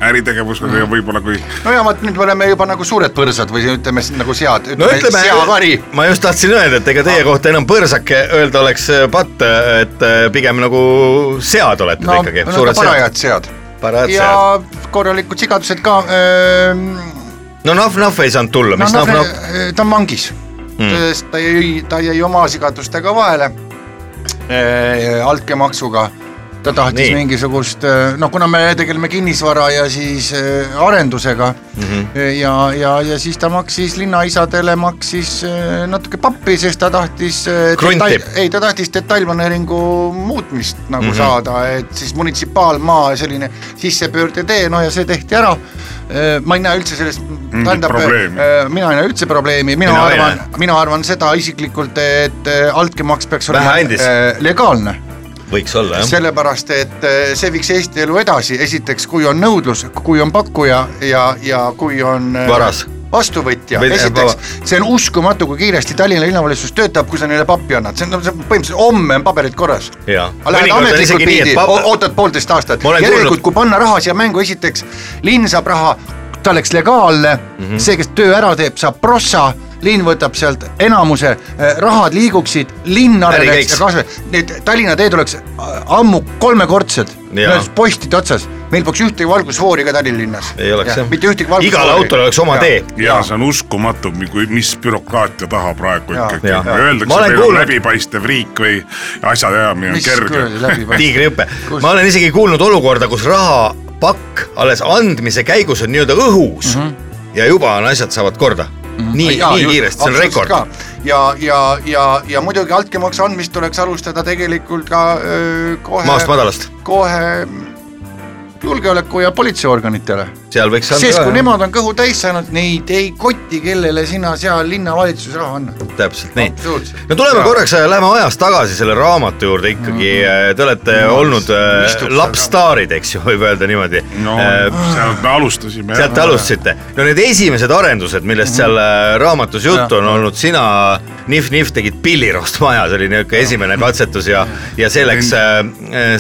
[SPEAKER 3] äritegevusele ja
[SPEAKER 2] Mm.
[SPEAKER 3] võib-olla kui
[SPEAKER 4] no ja vot nüüd me oleme juba nagu suured põrsad või ütleme siis nagu sead ,
[SPEAKER 2] no
[SPEAKER 4] ütleme,
[SPEAKER 2] ütleme
[SPEAKER 4] seavari .,
[SPEAKER 2] ma just tahtsin öelda , et ega
[SPEAKER 4] Ah.
[SPEAKER 2] teie kohta enam põrsake öelda oleks äh, patt , et äh, pigem nagu sead olete te
[SPEAKER 4] no
[SPEAKER 2] ikkagi ,
[SPEAKER 4] no
[SPEAKER 2] suured sead ,
[SPEAKER 4] need parajad sead
[SPEAKER 2] parajad
[SPEAKER 4] ja
[SPEAKER 2] sead .
[SPEAKER 4] korralikud sigadused ka ehm,
[SPEAKER 2] no nahv-nahv ei saanud tulla ,
[SPEAKER 4] no,
[SPEAKER 2] mis Hmm.
[SPEAKER 4] noh,
[SPEAKER 2] nahv-nahv ?
[SPEAKER 4] ta on vangis mm. , ta jäi , ta jäi oma sigadustega vahele eh, altkäemaksuga . ta tahtis
[SPEAKER 2] Nii.
[SPEAKER 4] Nii. mingisugust , noh , kuna me tegeleme kinnisvara ja siis eh, arendusega mm
[SPEAKER 2] Mhm.
[SPEAKER 4] -hmm. ja , ja , ja siis ta maksis linnaisadele , maksis eh, natuke pappi , sest ta tahtis .
[SPEAKER 2] Krunti. Mhm.
[SPEAKER 4] ei , ta tahtis detailplaneeringu muutmist nagu mm -hmm. saada , et siis munitsipaalmaa selline sissepöördetee , no ja see tehti ära . ma ei näe üldse sellest , eh, tähendab
[SPEAKER 3] probleemi.
[SPEAKER 4] Äh, mina ei näe üldse probleemi , mina
[SPEAKER 2] Mina ka ei
[SPEAKER 4] arvan , mina arvan seda isiklikult , et eh, altkäemaks peaks olema
[SPEAKER 2] Vähe andis.
[SPEAKER 4] eh, legaalne ,
[SPEAKER 2] võiks olla jah .
[SPEAKER 4] sellepärast et eh, see viiks Eesti elu edasi , esiteks , kui on nõudlus , kui on pakkuja ja , ja kui on eh,
[SPEAKER 2] Varas.
[SPEAKER 4] vastuvõtja ,
[SPEAKER 2] Või-
[SPEAKER 4] esiteks , see on uskumatu , kui kiiresti Tallinna linnavalitsus töötab , kui sa neile pappi annad , see on , see on põhimõtteliselt homme on paberid korras .
[SPEAKER 2] Jaa.
[SPEAKER 4] aga lähed
[SPEAKER 2] Mõnikord on
[SPEAKER 4] ametlikult
[SPEAKER 2] isegi nii, et
[SPEAKER 4] pidi ,
[SPEAKER 2] pab-
[SPEAKER 4] ootad poolteist aastat ,
[SPEAKER 2] Ma olen
[SPEAKER 4] järelikult
[SPEAKER 2] kuulnud-
[SPEAKER 4] kui panna raha siia mängu , esiteks linn saab raha , ta oleks legaalne mm ,
[SPEAKER 2] Mhm.
[SPEAKER 4] -hmm. see , kes töö ära teeb , saab prossa , linn võtab sealt enamuse , rahad liiguksid , linn areneks
[SPEAKER 2] käiks.
[SPEAKER 4] ja kasvaks , need Tallinna teed oleks äh, ammu kolmekordsed , need
[SPEAKER 2] Jaa.
[SPEAKER 4] oleks postide otsas , meil poleks ühtegi valgusfoori ka Tallinna linnas .
[SPEAKER 2] ei oleks jah .
[SPEAKER 4] mitte ühtegi valgusfoori .
[SPEAKER 2] igal autol oleks oma tee .
[SPEAKER 3] ja see on uskumatu , mis bürokraatia taha praegu
[SPEAKER 4] Jaa.
[SPEAKER 3] ikkagi
[SPEAKER 2] Jaa. Ma
[SPEAKER 3] öeldakse ,
[SPEAKER 2] olen
[SPEAKER 3] meil on
[SPEAKER 2] kuulnud-
[SPEAKER 3] läbipaistev riik või asjaajamine on
[SPEAKER 4] mis kuradi
[SPEAKER 3] kerge .
[SPEAKER 4] läbi .
[SPEAKER 2] tiigrihüpe
[SPEAKER 4] Kus? .
[SPEAKER 2] ma olen isegi kuulnud olukorda , kus rahapakk alles andmise käigus on nii-öelda õhus
[SPEAKER 4] Mhm.
[SPEAKER 2] mm -hmm. ja juba on asjad saavad korda mm . -hmm. nii , nii kiiresti , see on rekord .
[SPEAKER 4] ja , ja , ja , ja muidugi altkäemaksu andmist tuleks alustada tegelikult ka öö, kohe .
[SPEAKER 2] maast madalast ,
[SPEAKER 4] kohe julgeoleku ja politseiorganitele ,
[SPEAKER 2] seal võiks anda
[SPEAKER 4] sest
[SPEAKER 2] ka,
[SPEAKER 4] kui
[SPEAKER 2] jah.
[SPEAKER 4] nemad on kõhu täis saanud , neid ei koti , kellele sina seal linnavalitsuses raha annad .
[SPEAKER 2] täpselt nii .
[SPEAKER 4] absoluutselt.
[SPEAKER 2] no tuleme
[SPEAKER 4] Jaa.
[SPEAKER 2] korraks , läheme ajas tagasi selle raamatu juurde ikkagi mm , -hmm. te olete no, olnud äh,
[SPEAKER 4] Mhm. istub seal
[SPEAKER 2] lapsstaarid , eks ju , võib öelda niimoodi
[SPEAKER 3] no
[SPEAKER 2] Äh,
[SPEAKER 3] sealt me alustasime .
[SPEAKER 2] sealt te alustasite , no need esimesed arendused , millest seal äh, raamatus juttu on olnud , sina , Nihv-Nihv tegid pillirost maja , see oli niisugune esimene katsetus ja , ja see läks ,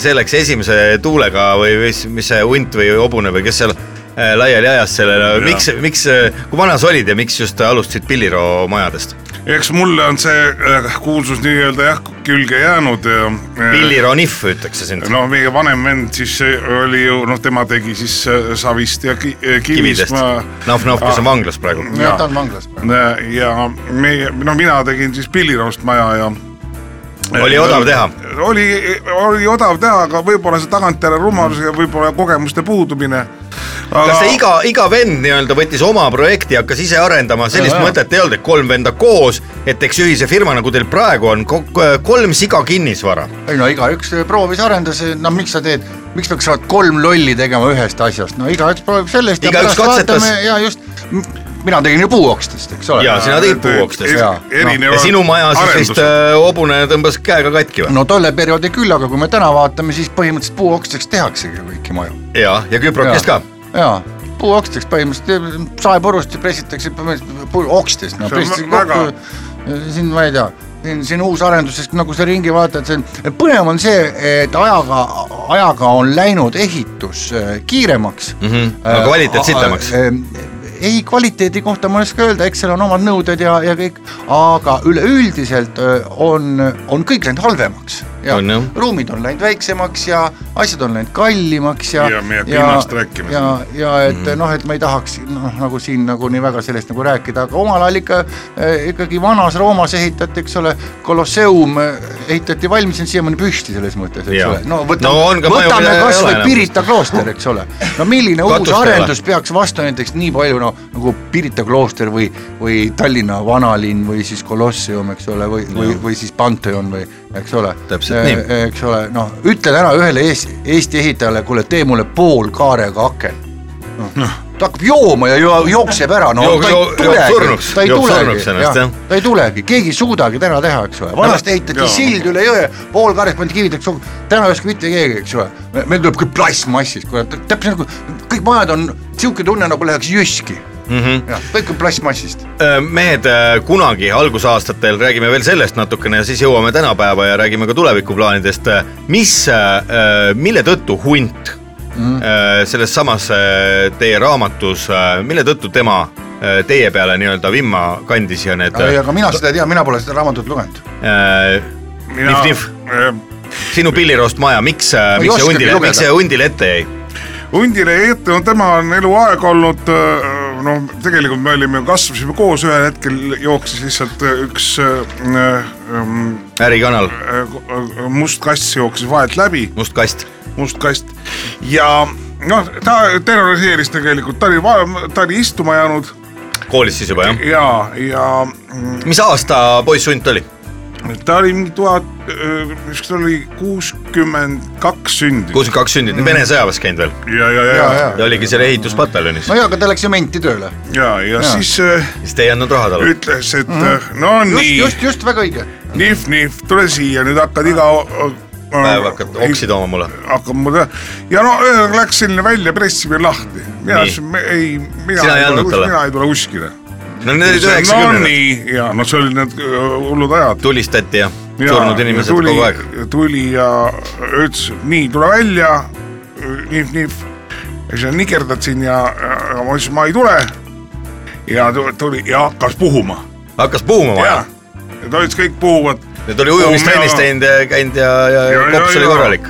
[SPEAKER 2] see läks esimese tuulega või mis , mis see hunt või hobune või kes seal äh, laiali ajas selle , miks , miks , kui vana sa olid ja miks just alustasid pilliroo majadest ?
[SPEAKER 3] eks mulle on see äh, kuulsus nii-öelda jah külge jäänud . äh,
[SPEAKER 2] pilliroo Nihv ütleks see sind no. .
[SPEAKER 3] no meie vanem vend siis äh, oli ju noh , tema tegi siis äh, Savist ja ki, äh,
[SPEAKER 2] kividest
[SPEAKER 3] Kivist .
[SPEAKER 2] Nahv-Nahv , kes on vanglas praegu .
[SPEAKER 3] Jaa.
[SPEAKER 4] ta on vanglas .
[SPEAKER 3] ja meie , no mina tegin siis pilliroost maja ja . Eh,
[SPEAKER 2] Oli odav teha?
[SPEAKER 3] oli , oli odav teha , aga võib-olla see tagantjärele rumalus ja võib-olla kogemuste puudumine
[SPEAKER 2] kas see iga , iga vend nii-öelda võttis oma projekti ja hakkas ise arendama , sellist
[SPEAKER 4] Jaa.
[SPEAKER 2] mõtet ei olnud , et kolm venda koos , et teeks ühise firma , nagu teil praegu on , kolm siga kinnisvara .
[SPEAKER 4] ei no igaüks eh, proovis , arendas , no miks sa teed , miks peaks sa kolm lolli tegema ühest asjast , no igaüks proovib sellest ja
[SPEAKER 2] Igaüks
[SPEAKER 4] pärast
[SPEAKER 2] katsetas.
[SPEAKER 4] vaatame ja just , mina tegin ju puuokstest , eks ole .
[SPEAKER 2] ja sina tegid puuokstest . ja sinu maja siis vist äh, hobune tõmbas käega katki või ?
[SPEAKER 4] no tolle perioodi küll , aga kui me täna vaatame , siis põhimõtteliselt puuoksteks tehaksegi kõiki maju .
[SPEAKER 2] ja , ja küprokest ka .
[SPEAKER 4] Mm. jaa , puuoksteks põhimõtteliselt , saepurust pressitakse põhimõtteliselt puu- okstest , no
[SPEAKER 3] See on
[SPEAKER 4] pressitakse
[SPEAKER 3] väga-
[SPEAKER 4] kokku , siin ma ei tea , siin , siin uus arendus , sest nagu sa ringi vaatad , see on , põnev on see , et ajaga , ajaga on läinud ehitus eh, kiiremaks mm .
[SPEAKER 2] Mhm, aga kvaliteet sitemaks.
[SPEAKER 4] äh, ei , kvaliteedi kohta ma ei oska öelda , eks seal on omad nõuded ja , ja kõik , aga üleüldiselt eh, on , on kõik läinud halvemaks .
[SPEAKER 2] On, jah.
[SPEAKER 4] ruumid on läinud väiksemaks ja asjad on läinud kallimaks ja
[SPEAKER 3] Ja me ei hakka hinnast rääkima.
[SPEAKER 4] ja , ja et
[SPEAKER 2] Mm.
[SPEAKER 4] noh , et ma ei tahaks noh , nagu siin nagu nii väga sellest nagu rääkida , aga omal ajal ikka eh, ikkagi vanas Roomas ehitati , eks ole , kolosseum eh, ehitati valmis , see on siiamaani püsti selles mõttes , eks
[SPEAKER 2] Jaa.
[SPEAKER 4] ole . no
[SPEAKER 2] No on
[SPEAKER 4] võtame
[SPEAKER 2] ka
[SPEAKER 4] no, ,
[SPEAKER 2] maju,
[SPEAKER 4] võtame
[SPEAKER 2] mida ei ole
[SPEAKER 4] kasvõi
[SPEAKER 2] enam.
[SPEAKER 4] Pirita klooster , eks ole . no milline uus
[SPEAKER 2] Katust ei ole.
[SPEAKER 4] arendus peaks vastu näiteks nii palju noh , nagu Pirita klooster või , või Tallinna vanalinn või siis kolosseum , eks ole , või , või , või siis Pantheon või eks ole .
[SPEAKER 2] Täpselt nii.
[SPEAKER 4] eks ole , noh , ütle täna ühele Eesti, Eesti ehitajale , kuule , tee mulle pool kaarega aken . noh , ta hakkab jooma ja jo, jookseb ära , no
[SPEAKER 2] Joob-
[SPEAKER 4] ta ei
[SPEAKER 2] joob- joob
[SPEAKER 4] tulegi
[SPEAKER 2] surnuks, ,
[SPEAKER 4] ta ei
[SPEAKER 2] joob surnuks
[SPEAKER 4] tulegi ,
[SPEAKER 2] ennast, jah.
[SPEAKER 4] ta ei tulegi , keegi ei suudagi täna teha , eks ole , vanasti ehitati
[SPEAKER 3] jaa.
[SPEAKER 4] sild üle jõe , pool karjast pandi kivid , eks ole , täna ei oska mitte keegi , eks ole , meil tuleb kõik plastmassist , kurat , täpselt nagu kõik majad on sihuke tunne , nagu läheks jüski , jah , kõik on plastmassist .
[SPEAKER 2] Äh, mehed , kunagi algusaastatel räägime veel sellest natukene ja siis jõuame tänapäeva ja räägime ka tulevikuplaanidest . mis , mille tõttu hunt mm. selles samas äh, teie raamatus , mille tõttu tema äh, teie peale nii-öelda vimma kandis ja need
[SPEAKER 4] ei , aga mina seda ei tea , mina pole seda raamatut lugenud .
[SPEAKER 2] äh, nif-nif ,
[SPEAKER 3] eh,
[SPEAKER 2] sinu pilliroost maja , miks ,
[SPEAKER 4] ei
[SPEAKER 2] miks see
[SPEAKER 4] oskagi
[SPEAKER 2] hundile ,
[SPEAKER 4] lugeda.
[SPEAKER 2] miks see hundile ette jäi ?
[SPEAKER 3] hundile ei ette , no tema on eluaeg olnud , noh , tegelikult me olime , kasvasime koos , ühel hetkel jooksis lihtsalt öö, üks öö, öö,
[SPEAKER 2] ärikanal ,
[SPEAKER 3] öö, öö, äh, must kass jooksis vahelt läbi ,
[SPEAKER 2] must kast ,
[SPEAKER 3] must kast ja noh , ta terroriseeris tegelikult , ta oli , ta oli istuma jäänud
[SPEAKER 2] koolis siis juba jah ?
[SPEAKER 3] ja , ja mm,
[SPEAKER 2] mis aasta poisshunt oli ?
[SPEAKER 3] ta oli mingi tuhat , mis ta oli , kuuskümmend kaks sündinud
[SPEAKER 2] kuuskümmend kaks sündinud , Vene sõjaväes käinud veel
[SPEAKER 3] ja , ja , ja , ja , ja,
[SPEAKER 2] ja oligi seal ehituspataljonis .
[SPEAKER 4] no jaa , aga ta läks ju menti tööle ,
[SPEAKER 3] ja, ja siis äh,
[SPEAKER 2] siis te ei andnud raha talle .
[SPEAKER 3] ütles , et äh, no
[SPEAKER 4] Mhm. just ,
[SPEAKER 3] nii ,
[SPEAKER 4] just , just väga õige
[SPEAKER 3] nihv-nihv , tule siia , nüüd hakkad iga .
[SPEAKER 2] päev hakkad oksi . tooma mulle .
[SPEAKER 3] hakkab mu töö ja no ühesõnaga läks selline välja pressimine lahti . mina
[SPEAKER 2] Nii.
[SPEAKER 3] ütlesin , ei , mina
[SPEAKER 2] Sina ei
[SPEAKER 3] ei
[SPEAKER 2] andnud
[SPEAKER 3] tule ,
[SPEAKER 2] talle?
[SPEAKER 3] mina ei tule kuskile .
[SPEAKER 2] no need olid
[SPEAKER 3] no
[SPEAKER 2] üheksakümnendad ,
[SPEAKER 3] nii , ja no see olid need öö, hullud ajad .
[SPEAKER 2] tulistati ja
[SPEAKER 3] Ja-
[SPEAKER 2] surnud inimesed
[SPEAKER 3] ja tuli,
[SPEAKER 2] kogu aeg .
[SPEAKER 3] tuli ja ütles , nii , tule välja , nihv-nihv , siis sa nikerdad siin ja ja ma ütlesin , ma ei tule . ja tu- tuli ja hakkas puhuma
[SPEAKER 2] hakkas puhuma
[SPEAKER 3] ja
[SPEAKER 2] vaja .
[SPEAKER 3] ja ta ütles , kõik puhuvad .
[SPEAKER 2] Need oli ujumistrennis teinud ja käinud ja , ja, ja
[SPEAKER 3] Ja- ja-
[SPEAKER 2] kops
[SPEAKER 3] ja-
[SPEAKER 2] oli korralik .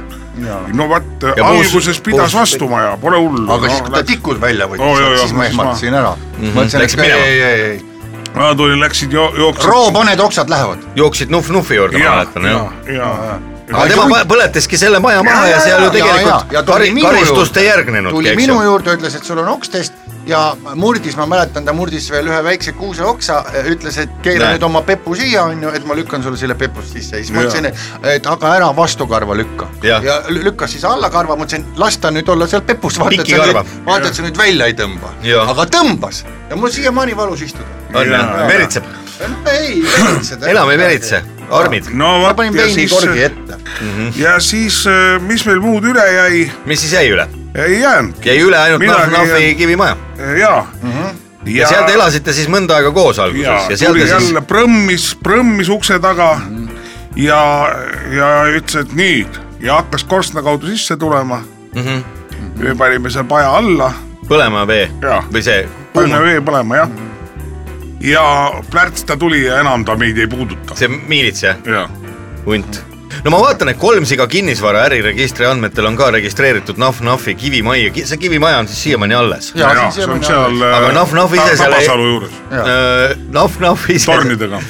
[SPEAKER 3] no vot ,
[SPEAKER 2] Ja puus-
[SPEAKER 3] alguses pidas
[SPEAKER 2] puus-
[SPEAKER 3] vastumaja , pole hullu . noh,
[SPEAKER 4] aga no, siis , kui ta tikud välja võttis
[SPEAKER 3] Oo, joo,
[SPEAKER 4] oh, ,
[SPEAKER 3] joo,
[SPEAKER 4] siis ma
[SPEAKER 3] siis ma-
[SPEAKER 4] ehmatasin ära mm . -hmm. mõtlesin ,
[SPEAKER 2] Läksid
[SPEAKER 4] et ei ,
[SPEAKER 2] minema?
[SPEAKER 4] ei , ei , ei ,
[SPEAKER 3] ma tulin , läksid jo- , jooksid .
[SPEAKER 4] roopaned oksad lähevad .
[SPEAKER 2] jooksid Nuf-Nufi juurde , ma
[SPEAKER 3] ja ,
[SPEAKER 2] mäletan jah .
[SPEAKER 3] ja ,
[SPEAKER 2] aga tema põ- põletaski selle maja maha ja seal ju tegelikult kari- karistust ei järgnenudki ,
[SPEAKER 4] tuli
[SPEAKER 2] eks ju .
[SPEAKER 4] minu juurde , ütles , et sul on okstest ja murdis , ma mäletan , ta murdis veel ühe väikse kuuseoksa , ütles , et keera
[SPEAKER 2] Näe.
[SPEAKER 4] nüüd oma pepu siia , onju , et ma lükkan sulle selle pepust sisse ja siis ma
[SPEAKER 3] Jaa.
[SPEAKER 4] ütlesin , et aga ära vastukarva lükka . ja
[SPEAKER 2] Jah.
[SPEAKER 4] lü- lükkas siis alla karva , mõtlesin , las ta nüüd olla seal pepus , vaata , et sa
[SPEAKER 2] Pikikarva.
[SPEAKER 4] nüüd , vaata , et sa nüüd välja ei tõmba .
[SPEAKER 2] Jaa.
[SPEAKER 4] aga tõmbas ja mul siiamaani valus istuda .
[SPEAKER 2] on jah
[SPEAKER 3] Jaa. ,
[SPEAKER 2] veritseb ,
[SPEAKER 4] ei , veritseda .
[SPEAKER 2] enam ei veritse , armid .
[SPEAKER 3] no
[SPEAKER 4] ma
[SPEAKER 3] vot
[SPEAKER 4] panin
[SPEAKER 3] ja siis ,
[SPEAKER 4] veinikorgi ette .
[SPEAKER 3] ja siis , mis meil muud üle jäi ,
[SPEAKER 2] mis siis jäi üle ?
[SPEAKER 3] ei jäänudki .
[SPEAKER 2] jäi üle ainult
[SPEAKER 3] Midagi
[SPEAKER 2] Nuf-Nufi
[SPEAKER 3] ei-
[SPEAKER 2] kivimaja .
[SPEAKER 3] ja mm . -hmm.
[SPEAKER 2] ja seal te elasite siis mõnda aega koos
[SPEAKER 3] ja,
[SPEAKER 2] alguses ja
[SPEAKER 3] ja
[SPEAKER 2] seal
[SPEAKER 3] tuli
[SPEAKER 2] te siis
[SPEAKER 3] jälle prõmmis , prõmmis ukse taga mm. ja , ja ütles , et nüüd ja hakkas korstna kaudu sisse tulema mm . -hmm. me panime selle paja alla ,
[SPEAKER 2] põlema vee
[SPEAKER 3] Jaa.
[SPEAKER 2] või see
[SPEAKER 3] panime vee põlema jah . ja plärts ta tuli ja enam ta meid ei puuduta .
[SPEAKER 2] see miilits jah ?
[SPEAKER 3] ja ,
[SPEAKER 2] hunt . no ma vaatan , et kolm siga kinnisvara äriregistri andmetel on ka registreeritud Nahv-Nahvi kivimajja , see kivimaja on siis siiamaani alles .
[SPEAKER 4] Jaa,
[SPEAKER 3] ja
[SPEAKER 4] siis
[SPEAKER 3] see on
[SPEAKER 4] jääme
[SPEAKER 3] seal .
[SPEAKER 2] Aga Nahv- Nahv ise noh, seal ei-
[SPEAKER 3] Tabasalu juures ,
[SPEAKER 2] Nahv-Nahv Äh, ise ,
[SPEAKER 3] tornidega .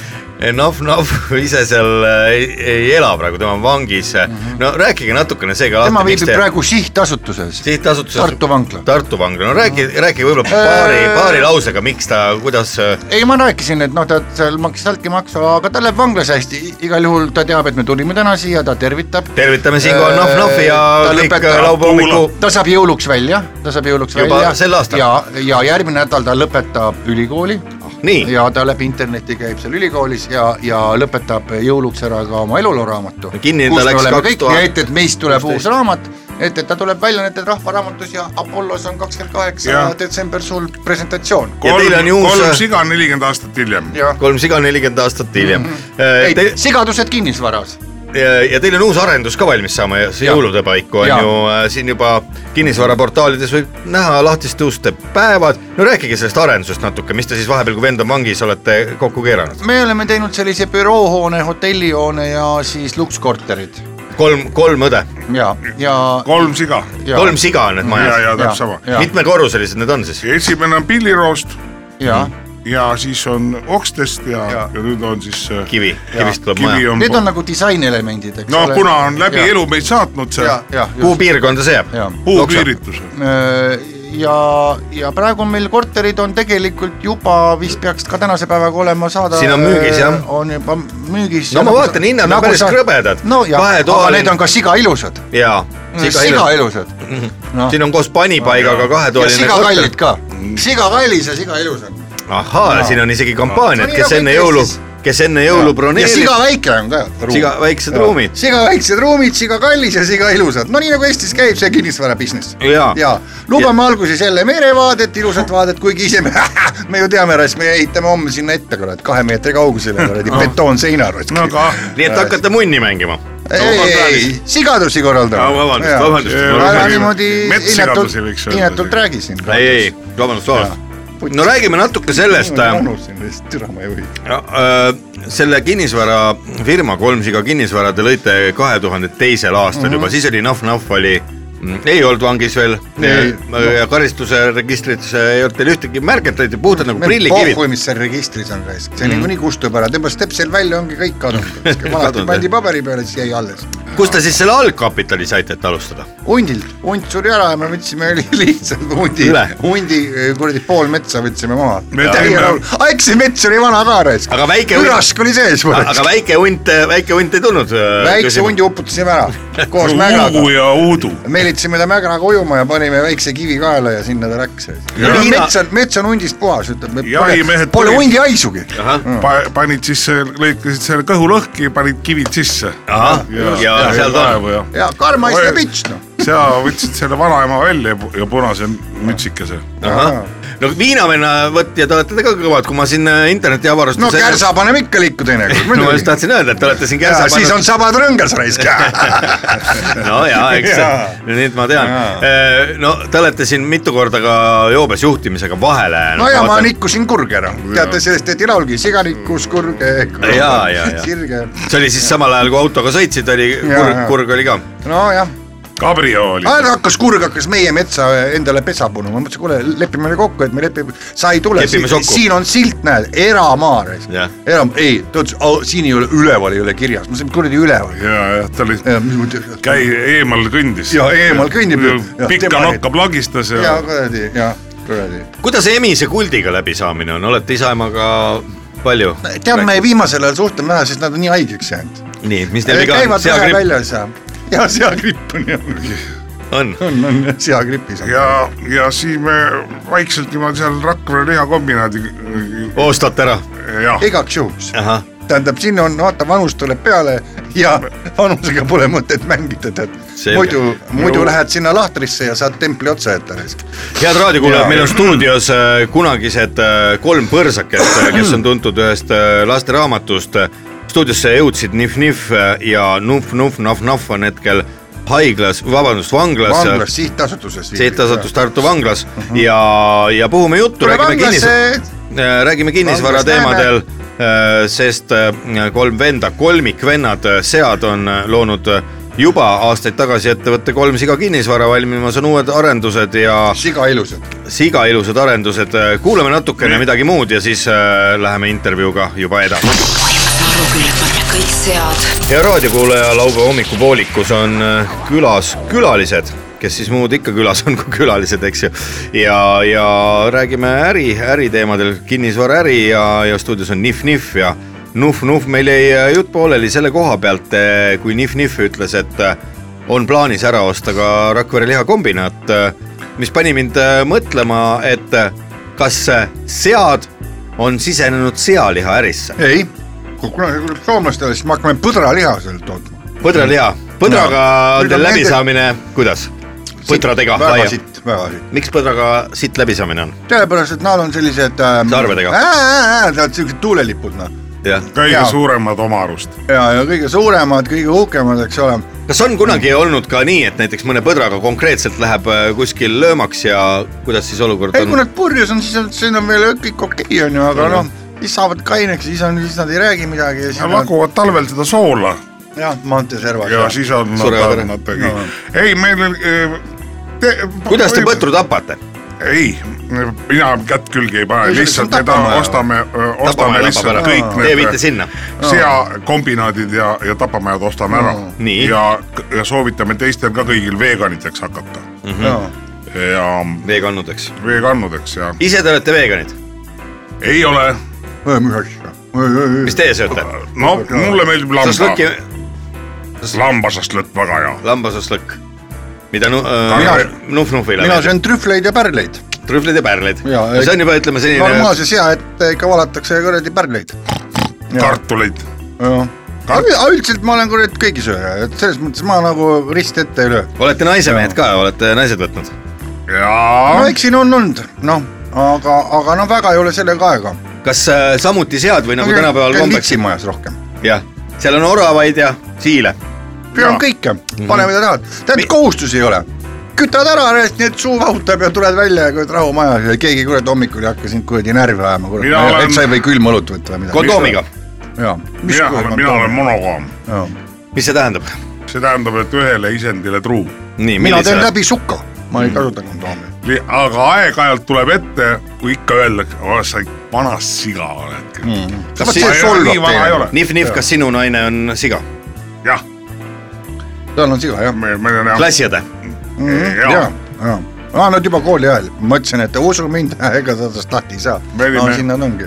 [SPEAKER 2] Nav Nav ise seal äh, ei, ei ela praegu , tema on vangis . no rääkige natukene seega
[SPEAKER 4] Mhm. tema
[SPEAKER 2] lahti , miks
[SPEAKER 4] viibib
[SPEAKER 2] te
[SPEAKER 4] praegu sihtasutuses ,
[SPEAKER 2] sihtasutuses
[SPEAKER 4] Tartu vangla. Äh,
[SPEAKER 2] Tartu vangla , no räägi , räägi võib-olla paari , paari lausega , miks ta , kuidas äh,
[SPEAKER 4] ei , ma rääkisin , et noh , ta seal maksis altkäemaksu , aga ta läheb vanglasse hästi , igal juhul ta teab , et me tulime täna siia , ta tervitab .
[SPEAKER 2] tervitame siinkohal Nav Navi noh, ja
[SPEAKER 4] Äh,
[SPEAKER 2] kõik
[SPEAKER 4] Ta lõpetab
[SPEAKER 2] äh, laupäeva hommiku
[SPEAKER 4] ta saab jõuluks välja , ta saab jõuluks
[SPEAKER 2] Juba
[SPEAKER 4] välja .
[SPEAKER 2] sel aastal?
[SPEAKER 4] ja , ja järgmine nädal ta lõpetab ülikooli
[SPEAKER 2] nii ,
[SPEAKER 4] ja ta läbi interneti käib seal ülikoolis ja , ja lõpetab jõuluks ära ka oma eluloraamatu .
[SPEAKER 2] Kinni ta läks 2000
[SPEAKER 4] nii et , et meist tuleb uus raamat , et , et ta tuleb välja nüüd rahvaraamatus ja Apollos on kakskümmend kaheksa
[SPEAKER 3] Jah.
[SPEAKER 4] detsember sul presentatsioon .
[SPEAKER 2] Ja teil on ju uus- äh,
[SPEAKER 3] kolm siga nelikümmend aastat hiljem .
[SPEAKER 4] jah ,
[SPEAKER 2] kolm siga nelikümmend aastat hiljem
[SPEAKER 4] Mhm.
[SPEAKER 2] Äh,
[SPEAKER 4] ei
[SPEAKER 2] Te, ,
[SPEAKER 4] sigadused kinnisvaras .
[SPEAKER 2] ja ja teil on uus arendus ka valmis saama ja see
[SPEAKER 4] Jah.
[SPEAKER 2] jõulude paiku on
[SPEAKER 4] Jah.
[SPEAKER 2] ju äh, siin juba kinnisvaraportaalides võib näha lahtiste uste päevad . no rääkige sellest arendusest natuke , mis te siis vahepeal , kui vend on vangis , olete kokku keeranud ?
[SPEAKER 4] me oleme teinud sellise büroohoone , hotellihoone ja siis lukskorterid
[SPEAKER 2] kolm , kolm õde ,
[SPEAKER 4] ja , ja .
[SPEAKER 3] kolm siga
[SPEAKER 2] kolm siga on need
[SPEAKER 3] ja ,
[SPEAKER 2] majad .
[SPEAKER 3] ja täpselt sama .
[SPEAKER 2] mitmekorruselised need on siis ?
[SPEAKER 3] esimene on pilliroost
[SPEAKER 4] ja
[SPEAKER 3] ja siis on okstest ja, ja.
[SPEAKER 4] Ja. ,
[SPEAKER 3] ja nüüd on siis äh,
[SPEAKER 2] kivi , kivist tuleb
[SPEAKER 3] kivi
[SPEAKER 2] maja .
[SPEAKER 3] on
[SPEAKER 4] need on . nagu disainelemendid , eks
[SPEAKER 3] no
[SPEAKER 4] ole .
[SPEAKER 3] kuna on läbi ja.
[SPEAKER 4] ja.
[SPEAKER 3] elu meid saatnud see
[SPEAKER 4] ja , ja ,
[SPEAKER 2] kuhu piirkonda see jääb ?
[SPEAKER 4] ja ,
[SPEAKER 3] puupiiritus ,
[SPEAKER 4] ja , ja praegu on meil korterid on tegelikult juba vist peaks ka tänase päevaga olema saada .
[SPEAKER 2] Siin on müügis, jah.
[SPEAKER 4] on juba müügis . Nagu
[SPEAKER 2] No ma vaatan, hinnad on päris krõbedad.
[SPEAKER 4] no ja , aga
[SPEAKER 2] Kahetoaline-
[SPEAKER 4] need on ka siga ilusad ,
[SPEAKER 2] jaa .
[SPEAKER 4] siga ilusad .
[SPEAKER 2] Mhm.
[SPEAKER 4] noh ,
[SPEAKER 2] siin on koos panipaigaga
[SPEAKER 4] ja
[SPEAKER 2] kahetoaline
[SPEAKER 4] siga kallid
[SPEAKER 2] korter .
[SPEAKER 4] ka , siga kallis ja siga ilusad .
[SPEAKER 2] ahhaa , siin on isegi kampaaniad ,
[SPEAKER 4] No nii
[SPEAKER 2] kes
[SPEAKER 4] nagu
[SPEAKER 2] enne
[SPEAKER 4] ikka
[SPEAKER 2] jõulu
[SPEAKER 4] Eestis. ,
[SPEAKER 2] kes enne jõulu
[SPEAKER 4] ja
[SPEAKER 2] broneerib
[SPEAKER 4] siga , väike on ka .
[SPEAKER 2] siga , väiksed ruumid .
[SPEAKER 4] siga väiksed ruumid , siga kallis ja siga ilusad , no nii nagu Eestis käib see kinnisvara business .
[SPEAKER 2] Jaa.
[SPEAKER 4] ja lubame alguses jälle merevaadet , ilusat vaadet , kuigi ise me , me ju teame , me ehitame homme sinna ette kurat , kahe meetri kaugusele kuradi betoonseina raisk
[SPEAKER 3] no aga
[SPEAKER 2] nii et hakkate munni mängima .
[SPEAKER 4] ei , ei , sigadusi korraldame .
[SPEAKER 2] vabandust , vabandust .
[SPEAKER 4] ära niimoodi
[SPEAKER 3] Metssigadusi võiks
[SPEAKER 4] inetult ,
[SPEAKER 3] öelda
[SPEAKER 4] inetult
[SPEAKER 3] siin.
[SPEAKER 4] räägi siin .
[SPEAKER 2] ei , ei , vabandust , vabandust . no räägime natuke sellest , äh.
[SPEAKER 4] unustasin , türa ma ei või .
[SPEAKER 2] selle kinnisvarafirma Kolmsiga kinnisvara te lõite kahe tuhande teisel aastal
[SPEAKER 4] Mhm.
[SPEAKER 2] mm -hmm. juba , siis oli Nahv-Nahv oli , ei olnud vangis veel äh,
[SPEAKER 4] Ei.
[SPEAKER 2] ja, ja karistuse registris äh, ei olnud teil ühtegi märget , olite puhtad nagu prillikivid .
[SPEAKER 4] pohhui , mis seal registris on raisk , see
[SPEAKER 2] Mm.
[SPEAKER 4] niikuinii kustub ära , tõmbas stepsel välja , ongi kõik kadunud . vanasti
[SPEAKER 2] Kadunud,
[SPEAKER 4] pandi
[SPEAKER 2] jah.
[SPEAKER 4] paberi peale , siis jäi alles
[SPEAKER 2] kust te siis selle algkapitali saite , et alustada ?
[SPEAKER 4] hundilt , hunt suri ära ja me võtsime li- lihtsalt hundi
[SPEAKER 2] Üle. ,
[SPEAKER 4] hundi eh, kuradi pool metsa võtsime maha .
[SPEAKER 3] Me tegime-
[SPEAKER 4] eks see mets oli vana ka raisk ,
[SPEAKER 2] Aga väike-
[SPEAKER 4] ürask oli sees .
[SPEAKER 2] aga väike hunt , väike hunt ei tulnud . äh,
[SPEAKER 4] väikse hundi uputasime ära koos mägraga
[SPEAKER 3] Uugu , ja Uudu .
[SPEAKER 4] meelitasime ta mägraga ujuma ja panime väikse kivi kaela ja sinna ta läks .
[SPEAKER 3] Ja
[SPEAKER 2] Liina-
[SPEAKER 4] mets on , mets on hundist puhas , ütleb , pole,
[SPEAKER 3] Jahimehed
[SPEAKER 4] pole
[SPEAKER 3] tulid.
[SPEAKER 4] hundi haisugi . Mm.
[SPEAKER 3] Pa, panid siis , lõikasid selle kõhu lõhki ja panid kivid sisse .
[SPEAKER 2] ahah , ja seal ta on .
[SPEAKER 3] on .
[SPEAKER 4] ja karm haisne
[SPEAKER 3] Oi.
[SPEAKER 4] pits noh .
[SPEAKER 3] sa võtsid selle vanaema välja ja pu- ja punase mütsikese .
[SPEAKER 2] ahah , no viinavenna võtja te olete ka kõvad , kui ma siin äh, interneti avarustan .
[SPEAKER 4] no kärsa paneme ikka liiku teinekord
[SPEAKER 2] no ma just
[SPEAKER 4] muidugi .
[SPEAKER 2] tahtsin öelda , et te olete siin kärsa
[SPEAKER 4] siis on sabad rõngas raisk .
[SPEAKER 2] no ja , eks see- nüüd ma tean . no te olete siin mitu korda ka joobes juhtimisega vahele jäänud .
[SPEAKER 4] no ja ma . nikkusin kurge ära , teate sellest tehti laulgi , siga nikkus kurge ,
[SPEAKER 2] Jaa, jaa, jaa.
[SPEAKER 4] sirge ,
[SPEAKER 2] see oli siis samal ajal , kui autoga sõitsid , oli kurg
[SPEAKER 4] jaa. ,
[SPEAKER 2] kurg oli ka .
[SPEAKER 4] nojah .
[SPEAKER 3] Cabrio oli .
[SPEAKER 4] aeg hakkas kurg , hakkas meie metsa endale pesa punuma , mõtlesin , kuule , lepime kokku , et me lepime , sa ei tule ,
[SPEAKER 2] Lepime sokku.
[SPEAKER 4] siin on silt , näed , eramaa ,
[SPEAKER 2] Jah.
[SPEAKER 4] eram- , ei , ta ütles , siin ei ole , üleval ei ole kirjas , ma ütlesin , kuradi üleval .
[SPEAKER 3] ja , jah , ta oli ,
[SPEAKER 4] ja
[SPEAKER 3] käi eemal kõndis .
[SPEAKER 4] eemal kõnnib .
[SPEAKER 3] pikka nokka plagistas
[SPEAKER 4] ja
[SPEAKER 3] ja .
[SPEAKER 4] kuradi , ja kuradi
[SPEAKER 2] kuidas emise kuldiga läbisaamine on , olete isa emaga palju ?
[SPEAKER 4] tead , me viimasel ajal suhtleme vähe , sest nad on nii haigeks jäänud .
[SPEAKER 2] nii , mis teil viga on
[SPEAKER 4] käivad ? vähe
[SPEAKER 2] seakripp
[SPEAKER 4] väljas ja , ja seagripp on jah
[SPEAKER 2] on .
[SPEAKER 4] on , on jah , seagripis on .
[SPEAKER 3] ja , ja siis me vaikselt niimoodi seal Rakvere lihakombinaadi .
[SPEAKER 2] ostate ära ?
[SPEAKER 3] jah ,
[SPEAKER 4] igaks juhuks ,
[SPEAKER 2] ahah ,
[SPEAKER 4] tähendab , siin on vaata , vanus tuleb peale ja vanusega pole mõtet mängida , tead .
[SPEAKER 2] Selge.
[SPEAKER 4] muidu , muidu lähed sinna lahtrisse ja saad templi otsa jätta raisk .
[SPEAKER 2] head raadiokuulajad , meil on stuudios äh, kunagised äh, kolm põrsakest , kes on tuntud ühest äh, lasteraamatust . stuudiosse jõudsid Nif Nif äh, ja Nuf Nuf Naf Naf on hetkel haiglas , vabandust , vanglas,
[SPEAKER 4] vanglas
[SPEAKER 2] vanglas. ,
[SPEAKER 4] sihtasutuses .
[SPEAKER 2] sihtasutus . Tartu vanglas uh -huh. ja , ja puhume juttu ,
[SPEAKER 4] tule
[SPEAKER 2] räägime kinnis- ,
[SPEAKER 4] vanglasse ,
[SPEAKER 2] räägime kinnisvara
[SPEAKER 4] Vanglas
[SPEAKER 2] teemadel , sest äh, kolm venda , kolmikvennad , sead on äh, loonud äh, juba aastaid tagasi ettevõtte Kolm Siga kinnisvara valmimas on uued arendused ja
[SPEAKER 4] siga ilusad .
[SPEAKER 2] siga ilusad arendused , kuulame natukene midagi muud ja siis äh, läheme intervjuuga äh, juba edasi .
[SPEAKER 7] Kasalogile panna kõik sead .
[SPEAKER 2] hea raadiokuulaja , laupäeva hommikupoolikus on äh, külas külalised , kes siis muud ikka külas on kui külalised , eks ju . ja , ja räägime äri , äriteemadel , kinnisvaraäri ja , ja stuudios on Nif-Nif ja Nuf-Nuf , meil jäi äh, jutt pooleli selle koha pealt , kui Nif-Nif ütles , et äh, on plaanis ära osta ka Rakvere lihakombinaat , mis pani mind äh, mõtlema , et äh, kas äh, sead on sisenenud sealihaärisse .
[SPEAKER 4] ei , kui kunagi tuleb soomlastele , siis me hakkame põdraliha sealt tootma .
[SPEAKER 2] põdraliha , põdraga
[SPEAKER 4] No.
[SPEAKER 2] on teil
[SPEAKER 4] Püüdame
[SPEAKER 2] läbisaamine , kuidas ? põdradega ,
[SPEAKER 4] väga sitt , väga sitt .
[SPEAKER 2] miks põdraga siit läbisaamine on ?
[SPEAKER 4] sellepärast , et nad on sellised ähm, .
[SPEAKER 2] Sarvedega.
[SPEAKER 4] Nad on siuksed tuulelipud noh
[SPEAKER 2] jah ,
[SPEAKER 3] kõige
[SPEAKER 4] Jaa.
[SPEAKER 3] suuremad oma arust .
[SPEAKER 4] ja , ja kõige suuremad , kõige uhkemad , eks ole .
[SPEAKER 2] kas on kunagi olnud ka nii , et näiteks mõne põdraga konkreetselt läheb äh, kuskil löömaks ja kuidas siis olukord
[SPEAKER 4] ei , kui
[SPEAKER 2] on ?
[SPEAKER 4] nad purjus on , siis on , siis on veel kõik okei okay, on ju , aga noh , siis saavad kaineks , siis on , siis nad ei räägi midagi ja siis nad
[SPEAKER 3] laguvad talvel seda soola
[SPEAKER 4] jah , maanteeservas .
[SPEAKER 3] ja siis on
[SPEAKER 2] Surevad ära.
[SPEAKER 3] nad natuke . ei , meil oli te, .
[SPEAKER 2] kuidas te ? põtru tapate ?
[SPEAKER 3] ei , mina kätt külge ei pane ,
[SPEAKER 4] Ei, see on
[SPEAKER 3] lihtsalt me
[SPEAKER 4] tapamaja.
[SPEAKER 3] ta ostame , ostame lihtsalt kõik
[SPEAKER 2] Te viite
[SPEAKER 3] need
[SPEAKER 2] sinna .
[SPEAKER 3] seakombinaadid ja , ja tapamajad ostame ära
[SPEAKER 2] Nii. .
[SPEAKER 3] ja , ja soovitame teistel ka kõigil veganiteks hakata ja
[SPEAKER 2] veekannud , eks .
[SPEAKER 3] veganudeks ja
[SPEAKER 2] ise te olete veganid ,
[SPEAKER 3] ei ole ,
[SPEAKER 4] mis asja , oi , oi , oi
[SPEAKER 2] mis . teie sööte ?
[SPEAKER 3] no mulle meeldib lamba
[SPEAKER 2] šašlõkki ,
[SPEAKER 3] lambasaslõtt väga hea .
[SPEAKER 2] lambašašlõkk , mida nu-
[SPEAKER 3] Mina-
[SPEAKER 2] äh, nuf-nufile
[SPEAKER 4] mina . söön trühvleid ja pärleid .
[SPEAKER 2] trühvlid ja pärlid .
[SPEAKER 4] Jaa,
[SPEAKER 2] see on juba , ütleme selline ,
[SPEAKER 4] normaalse sea ette ikka valatakse kuradi pärleid .
[SPEAKER 3] kartuleid ,
[SPEAKER 4] aga üldiselt ma olen kuradi kõigi sööja , et selles mõttes ma nagu rist ette ei löö .
[SPEAKER 2] olete naisemehed ka , olete naised võtnud ?
[SPEAKER 4] no
[SPEAKER 2] Ah.
[SPEAKER 3] jaa ,
[SPEAKER 4] eks siin on olnud , noh , aga , aga no väga ei ole sellega aega .
[SPEAKER 2] kas äh, samuti sead või nagu tänapäeval
[SPEAKER 4] käin
[SPEAKER 2] kombeks ?
[SPEAKER 4] litsimajas rohkem .
[SPEAKER 2] jah , seal on oravaid ja siile .
[SPEAKER 4] pean kõike ,
[SPEAKER 3] Mhm.
[SPEAKER 4] pane mida tahad , tead kohustusi ei ole . kütad ära rest , nii et suu vahutab ja tuled välja ja kuradi rahu majas ja keegi kurat hommikul ei hakka sind kuradi närvi ajama , kurat
[SPEAKER 3] Mina , olen-
[SPEAKER 4] et sa ei või külma õlut võtta või midagi .
[SPEAKER 2] kondoomiga ,
[SPEAKER 4] jaa ,
[SPEAKER 3] mina olen , mina olen monogaam ,
[SPEAKER 4] jaa .
[SPEAKER 2] mis see tähendab ?
[SPEAKER 3] see tähendab , et ühele isendile truu .
[SPEAKER 2] nii ,
[SPEAKER 4] mina teen
[SPEAKER 2] millisele ?
[SPEAKER 4] läbi suka , ma
[SPEAKER 3] Mhm.
[SPEAKER 4] ei kasuta kondoomi .
[SPEAKER 3] aga aeg-ajalt tuleb ette , kui ikka öeldakse , oh sa vana siga oled mm. .
[SPEAKER 4] vot
[SPEAKER 2] si-
[SPEAKER 4] see
[SPEAKER 3] ei ole, nii
[SPEAKER 4] solvab
[SPEAKER 3] vana ei
[SPEAKER 4] teile
[SPEAKER 3] ole. .
[SPEAKER 2] Nif-Nif , kas sinu naine on siga ?
[SPEAKER 3] jah ,
[SPEAKER 4] tal on siga jah .
[SPEAKER 3] me , meil on jah ,
[SPEAKER 2] klassiõde ?
[SPEAKER 3] jaa
[SPEAKER 4] jaa , jaa . aa , nad juba kooli ajal , mõtlesin , et usu mind , ega sa tast lahti ei saa .
[SPEAKER 3] Me olime-
[SPEAKER 4] no siin nad ongi .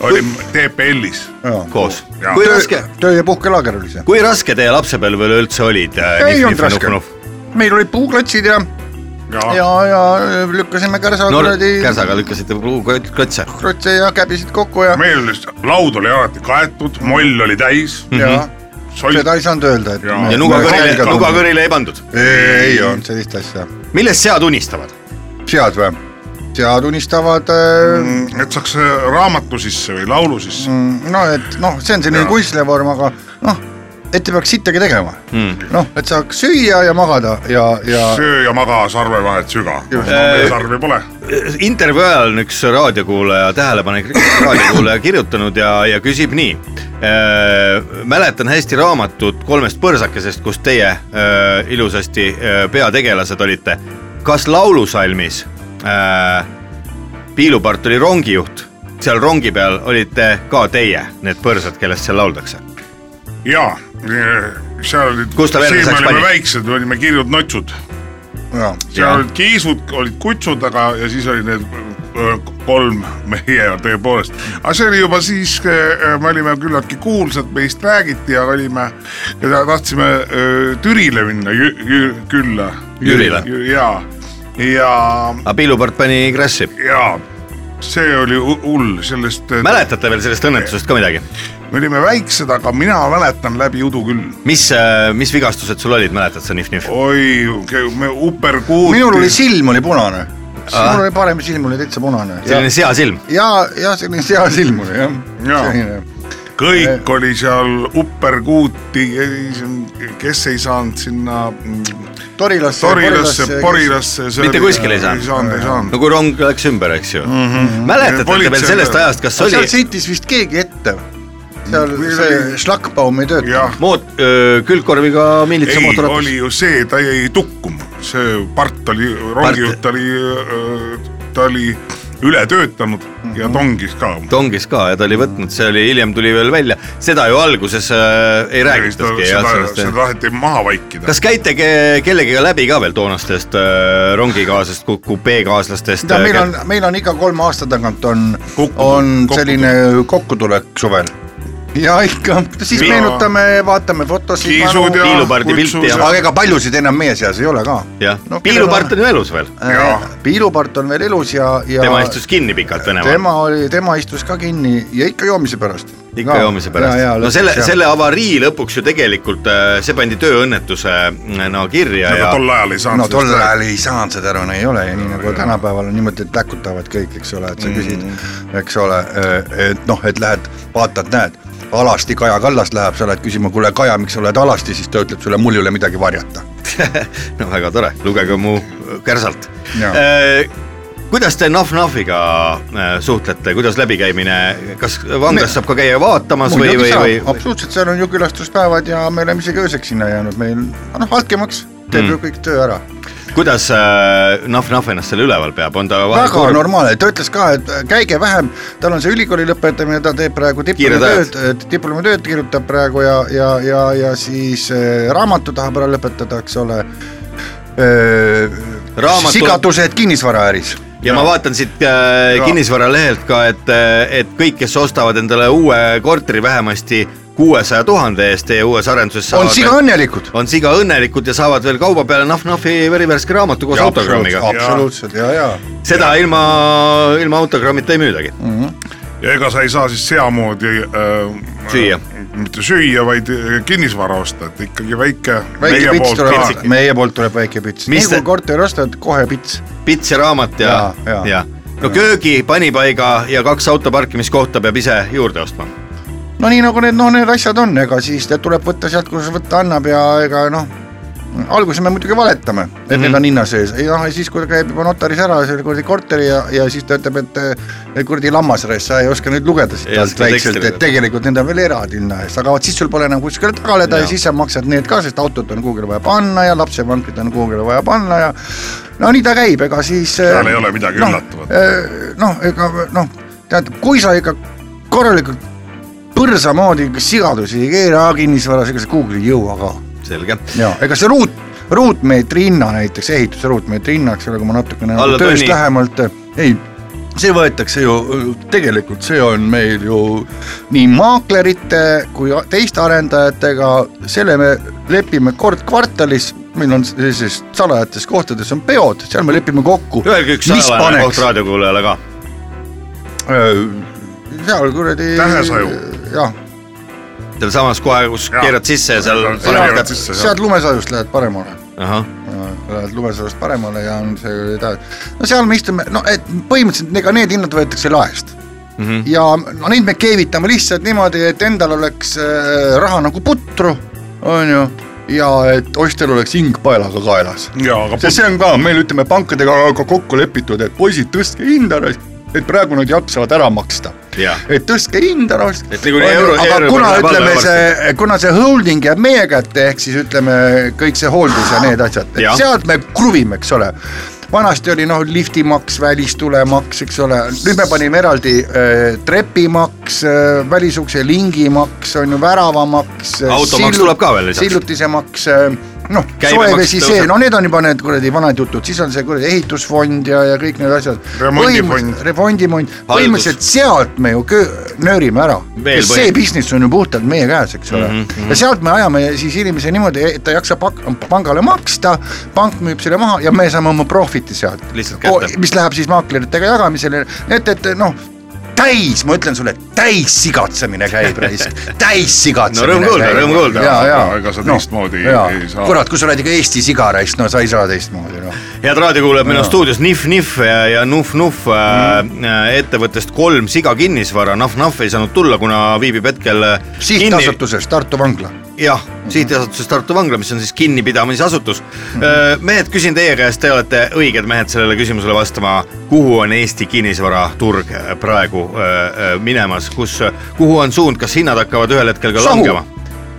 [SPEAKER 3] olime TPL-is ,
[SPEAKER 2] koos .
[SPEAKER 3] Jaa.
[SPEAKER 2] kui raske ,
[SPEAKER 4] töö ja puhkelaager oli see .
[SPEAKER 2] kui raske teie lapsepõlv üleüldse olid ? äh,
[SPEAKER 4] ei olnud raske . meil olid puuklotsid ja ,
[SPEAKER 3] ja
[SPEAKER 4] ja , ja lükkasime kärsa
[SPEAKER 2] no
[SPEAKER 4] kuradi
[SPEAKER 2] käsaga lükkasite klotse .
[SPEAKER 4] krotse ja käbisid kokku ja ,
[SPEAKER 3] meil oli , laud oli alati kaetud , moll oli täis ,
[SPEAKER 4] ja seda
[SPEAKER 3] solk
[SPEAKER 4] ei saanud öelda , et
[SPEAKER 3] Jaa.
[SPEAKER 4] me-
[SPEAKER 2] ja
[SPEAKER 4] me
[SPEAKER 2] nugakõrile ,
[SPEAKER 4] kaelga tundme.
[SPEAKER 2] nugakõrile ei pandud .
[SPEAKER 4] ei olnud sellist asja .
[SPEAKER 2] millest sead unistavad ?
[SPEAKER 4] sead või ? sead unistavad äh, ,
[SPEAKER 3] et saaks raamatu sisse või laulu sisse mm. .
[SPEAKER 4] no et noh , see on selline
[SPEAKER 3] Jaa.
[SPEAKER 4] kunstilevorm , aga noh , et ei peaks sittagi tegema . noh , et saaks süüa ja magada ja , ja
[SPEAKER 3] söö ja maga sarve vahet süga , sarvi pole .
[SPEAKER 2] intervjuu ajal on üks raadiokuulaja , tähelepanelik raadiokuulaja kirjutanud ja , ja küsib nii . mäletan hästi raamatut Kolmest põrsakesest , kus teie öö, ilusasti öö, peategelased olite . kas laulusalmis öö, Piilupart oli rongijuht , seal rongi peal olite ka teie , need põrsad , kellest seal lauldakse ?
[SPEAKER 3] jaa , seal olid ,
[SPEAKER 2] Kus ta verd
[SPEAKER 3] siin me
[SPEAKER 2] lisaks
[SPEAKER 3] olime
[SPEAKER 2] pani?
[SPEAKER 3] väiksed , me olime kirjud notsud
[SPEAKER 4] ja.
[SPEAKER 3] seal olid kiisud , olid kutsud , aga , ja siis oli need öö, kolm meie tõepoolest . aga see oli juba siis , me olime küllaltki kuulsad , meist räägiti ja olime , ja tahtsime öö, Türile minna jü, jü, külla .
[SPEAKER 2] Jürile.
[SPEAKER 3] ja , ja ,
[SPEAKER 2] aga Piilupart pani krassi .
[SPEAKER 3] ja see oli hu- hull , sellest , me
[SPEAKER 2] mäletate veel sellest õnnetusest ka midagi ?
[SPEAKER 3] olime väiksed , aga mina mäletan läbi udu küll .
[SPEAKER 2] mis , mis vigastused sul olid , mäletad sa Nif-Nif ?
[SPEAKER 3] oi , me uperkuuti .
[SPEAKER 4] minul oli silm oli punane , mul oli parem silm oli täitsa punane ja ,
[SPEAKER 2] selline seasilm .
[SPEAKER 4] ja , ja selline sea silm oli jah
[SPEAKER 3] Jaa.
[SPEAKER 4] Selline.
[SPEAKER 3] kõik oli seal upperkuuti , kes ei saanud sinna mm,
[SPEAKER 4] Torilasse ,
[SPEAKER 3] Torilasse , Porilasse .
[SPEAKER 2] Mitte kuskile ei saanud.
[SPEAKER 3] ei saanud , ei
[SPEAKER 2] no
[SPEAKER 3] saanud .
[SPEAKER 2] kui rong läks ümber , eks ju mm . -hmm. mäletate te
[SPEAKER 3] Politsei-
[SPEAKER 2] veel sellest ajast , kas
[SPEAKER 4] seal
[SPEAKER 2] oli Mm,
[SPEAKER 4] sõitis vist keegi ette , seal
[SPEAKER 3] Meil oli-
[SPEAKER 4] see šlakkbaum ei tööta ,
[SPEAKER 3] jah ,
[SPEAKER 2] moot- , külgkorviga miilitsa
[SPEAKER 3] ei ,
[SPEAKER 2] mootorratas
[SPEAKER 3] oli ? ju see , ta jäi tukkuma , see part oli , rongijuht oli , äh, ta oli üle töötanud ja
[SPEAKER 4] Mhm.
[SPEAKER 3] tongis ka .
[SPEAKER 2] tongis ka ja ta oli võtnud , see oli , hiljem tuli veel välja , seda ju alguses äh, ei räägitudki jah ,
[SPEAKER 3] seda ,
[SPEAKER 2] sellest
[SPEAKER 3] seda . taheti maha vaikida .
[SPEAKER 2] kas käite ke kellegiga läbi ka veel toonastest äh, rongikaaslastest , kupeekaaslastest ?
[SPEAKER 4] mida meil on , meil on iga kolme aasta tagant on ,
[SPEAKER 3] Kokku-
[SPEAKER 4] on
[SPEAKER 3] kokkutulek.
[SPEAKER 4] selline kokkutulek suvel . ja ikka , siis
[SPEAKER 3] Mina-
[SPEAKER 4] meenutame , vaatame fotosid .
[SPEAKER 3] kiisud ja
[SPEAKER 2] Piilupardi pilti ja-
[SPEAKER 4] aga ega paljusid enam meie seas ei ole ka .
[SPEAKER 2] jah , piilupart on ju elus veel ,
[SPEAKER 3] Jaa.
[SPEAKER 4] piilupart Äh, on veel elus ja , ja
[SPEAKER 2] tema istus kinni pikalt Venemaal ,
[SPEAKER 4] tema oli , tema istus ka kinni ja ikka joomise pärast .
[SPEAKER 2] ikka joomise pärast . no selle , selle avarii lõpuks ju tegelikult äh, see pandi tööõnnetusena kirja
[SPEAKER 3] aga
[SPEAKER 2] ja
[SPEAKER 3] tol ajal ei saanud
[SPEAKER 4] no tol ajal ei saanud seda aru , no ei ole ju nii nagu tänapäeval on niimoodi , et läkutavad kõik , eks ole , et
[SPEAKER 2] Mm.
[SPEAKER 4] sa küsid , eks ole , et noh , et lähed vaatad , näed , alasti Kaja Kallas läheb , sa lähed küsima , kuule Kaja , miks sa oled alasti , siis ta ütleb sulle , mul ei ole midagi varjata .
[SPEAKER 2] no väga tore , lugege mu kärsalt Äh,
[SPEAKER 4] Jaa. .
[SPEAKER 2] kuidas te Nahv-Nahviga äh, suhtlete , kuidas läbikäimine , kas vanglas saab ka käia vaatamas või , või , või ?
[SPEAKER 4] absoluutselt , seal on ju külastuspäevad ja me oleme isegi ööseks sinna jäänud , meil noh , altkäemaks
[SPEAKER 2] Mm.
[SPEAKER 4] teeb ju kõik töö ära .
[SPEAKER 2] kuidas äh, Nahv-Nahv ennast seal üleval peab , on ta vahel
[SPEAKER 4] väga
[SPEAKER 2] kurb?
[SPEAKER 4] normaalne , ta ütles ka , et äh, käige vähem , tal on see ülikooli lõpetamine , ta teeb praegu
[SPEAKER 2] Kiired ajad.
[SPEAKER 4] diplomitööd , diplomitööd kirjutab praegu ja , ja , ja , ja siis eh, raamatu tahab ära lõpetada , eks ole .
[SPEAKER 2] Raamatu-
[SPEAKER 4] sigadused kinnisvaraäris .
[SPEAKER 2] ja ma vaatan siit äh, kinnisvaralehelt ka , et , et kõik , kes ostavad endale uue korteri vähemasti kuuesaja tuhande eest teie uues arenduses ,
[SPEAKER 4] on siga õnnelikud .
[SPEAKER 2] on siga õnnelikud ja saavad veel kauba peale Nahv-Nahvi verivärske raamatu koos autogrammiga .
[SPEAKER 4] absoluutselt ja , ja .
[SPEAKER 2] seda ilma , ilma autogrammita ei müüdagi mm. .
[SPEAKER 3] ja ega sa ei saa siis seamoodi äh,
[SPEAKER 2] Süüa.
[SPEAKER 3] äh, mitte süüa , vaid äh, kinnisvara osta , et ikkagi väike .
[SPEAKER 4] väike pits tuleb
[SPEAKER 2] kintsike. ,
[SPEAKER 4] meie poolt tuleb väike pits . nii
[SPEAKER 2] Mis te-
[SPEAKER 4] kui korteri ostad , kohe pits .
[SPEAKER 2] pits ja raamat ja ,
[SPEAKER 4] Jaa,
[SPEAKER 2] ja,
[SPEAKER 4] jaa.
[SPEAKER 2] ja. , no köögi , panipaiga ja kaks auto parkimiskohta peab ise juurde ostma .
[SPEAKER 4] no nii nagu need , noh , need asjad on , ega siis te- tuleb võtta sealt , kus võtta annab ja ega noh , alguses me muidugi valetame , et mm -hmm. need on hinna sees , ei noh , siis kui ta käib juba notaris ära selle kuradi korteri ja , ja siis ta ütleb , et eh, kuradi lammasraisk , sa ei oska nüüd lugeda siit
[SPEAKER 2] Ja
[SPEAKER 4] alt
[SPEAKER 2] seda
[SPEAKER 4] väikselt ,
[SPEAKER 2] teksti
[SPEAKER 4] et tegelikult need on veel eraldi hinna eest , aga vot siis sul pole enam kuskile taganeda ja. ja siis sa maksad need ka , sest autot on kuhugile vaja panna ja lapsevankrit on kuhugile vaja panna ja no nii ta käib , ega siis eh,
[SPEAKER 3] seal ei ole midagi
[SPEAKER 4] noh,
[SPEAKER 3] üllatavat .
[SPEAKER 4] noh , ega noh , tead , kui sa ikka korralikult põrsa moodi sigadusi ei keera kinnisvaras , ega sa Google'i ei jõua ka .
[SPEAKER 2] selge .
[SPEAKER 4] ja ega see ruut , ruutmeetri hinna näiteks , ehituse ruutmeetri hinna , eks ole , kui ma natukene
[SPEAKER 2] Alla
[SPEAKER 4] nagu tööst
[SPEAKER 2] tunni.
[SPEAKER 4] lähemalt , ei , see võetakse ju , tegelikult see on meil ju nii maaklerite kui a- teiste arendajatega , selle me lepime kord kvartalis , meil on sellises salajates kohtades on peod , seal me lepime kokku .
[SPEAKER 2] öelge üks salajane koht raadiokuulajale ka .
[SPEAKER 4] eh, seal kuradi .
[SPEAKER 3] Tähesaju.
[SPEAKER 4] jah ,
[SPEAKER 2] sealsamas kohe , kus
[SPEAKER 3] Jaa.
[SPEAKER 2] keerad sisse ja seal
[SPEAKER 3] Seal- seal
[SPEAKER 2] paned
[SPEAKER 3] keerad
[SPEAKER 2] kätt .
[SPEAKER 3] sisse.
[SPEAKER 4] sealt lumesajust lähed paremale .
[SPEAKER 2] ahah ,
[SPEAKER 4] Lähed lumesajust paremale ja on see , no seal me istume , no et põhimõtteliselt ega need hinnad võetakse laest mm . -hmm. ja no neid me keevitame lihtsalt niimoodi , et endal oleks äh, raha nagu putru , on ju , ja et ostjal oleks hing paelaga kaelas .
[SPEAKER 3] ja , aga
[SPEAKER 4] sest see on ka meil , ütleme pankadega ka kokku lepitud , et poisid , tõstke hinda , et praegu nad jaksavad ära maksta .
[SPEAKER 2] Jah.
[SPEAKER 4] et tõstke hinda , ostke .
[SPEAKER 2] Et niikuinii euro-
[SPEAKER 4] aga
[SPEAKER 2] euro
[SPEAKER 4] kuna
[SPEAKER 2] peale
[SPEAKER 4] ütleme
[SPEAKER 2] alla
[SPEAKER 4] see , kuna see holding jääb meie kätte , ehk siis ütleme kõik see hooldus ja need asjad ,
[SPEAKER 2] Jah.
[SPEAKER 4] sealt me kruvime , eks ole vanasti oli noh , liftimaks , välistulemaks , eks ole , nüüd me panime eraldi äh, trepimaks äh, , välisukse lingimaks on ju , väravamaks .
[SPEAKER 2] Automaks tuleb ka veel lisaks.
[SPEAKER 4] sillutisemaks , noh ,
[SPEAKER 2] Käibemaks
[SPEAKER 4] soe vesi , see ,
[SPEAKER 2] tõuseb.
[SPEAKER 4] no need on juba need kuradi vanad jutud , siis on see kuradi ehitusfond ja , ja kõik need asjad .
[SPEAKER 3] Remondifond.
[SPEAKER 4] remondifond , põhimõtteliselt sealt me ju köö- nöörime ära .
[SPEAKER 2] Veel Mhm,
[SPEAKER 4] see
[SPEAKER 2] põhi-
[SPEAKER 4] business on ju puhtalt meie käes , eks ole mm . -hmm. ja sealt me ajame siis inimese niimoodi , et ta jaksab pak- pangale maksta , pank müüb selle maha ja me saame oma profit'i sealt
[SPEAKER 2] Lihtsalt kätte. .
[SPEAKER 4] mis läheb siis maakleritega jagamisele , et , et noh täis , ma ütlen sulle , täis sigatsemine käib , täis sigatsemine .
[SPEAKER 2] No rõõm kuulda,
[SPEAKER 4] käib.
[SPEAKER 2] rõõm kuulda.
[SPEAKER 4] ja , ja .
[SPEAKER 3] Ega sa teistmoodi ei- ei saa.
[SPEAKER 4] kurat , kui sa oled ikka Eesti sigarist , no sa ei saa teistmoodi noh .
[SPEAKER 2] head raadiokuulajad , meil on stuudios Nihv Nihv ja, ja Nuhv Nuhv mm. äh, ettevõttest Kolm Siga kinnisvara , Nahv Nahv ei saanud tulla , kuna äh, viibib hetkel kinni ,
[SPEAKER 4] sihtasutuses Tartu vangla .
[SPEAKER 2] jah , sihtasutuses Tartu vangla , mis on siis kinnipidamisasutus
[SPEAKER 4] Mhm.
[SPEAKER 2] mm . -hmm. mehed , küsin teie käest , te olete õiged mehed sellele küsimusele vastama , kuhu on Eesti kinnisvaraturg praegu äh, äh, minemas , kus , kuhu on suund , kas hinnad hakkavad ühel hetkel ka
[SPEAKER 4] Sahu.
[SPEAKER 2] langema ?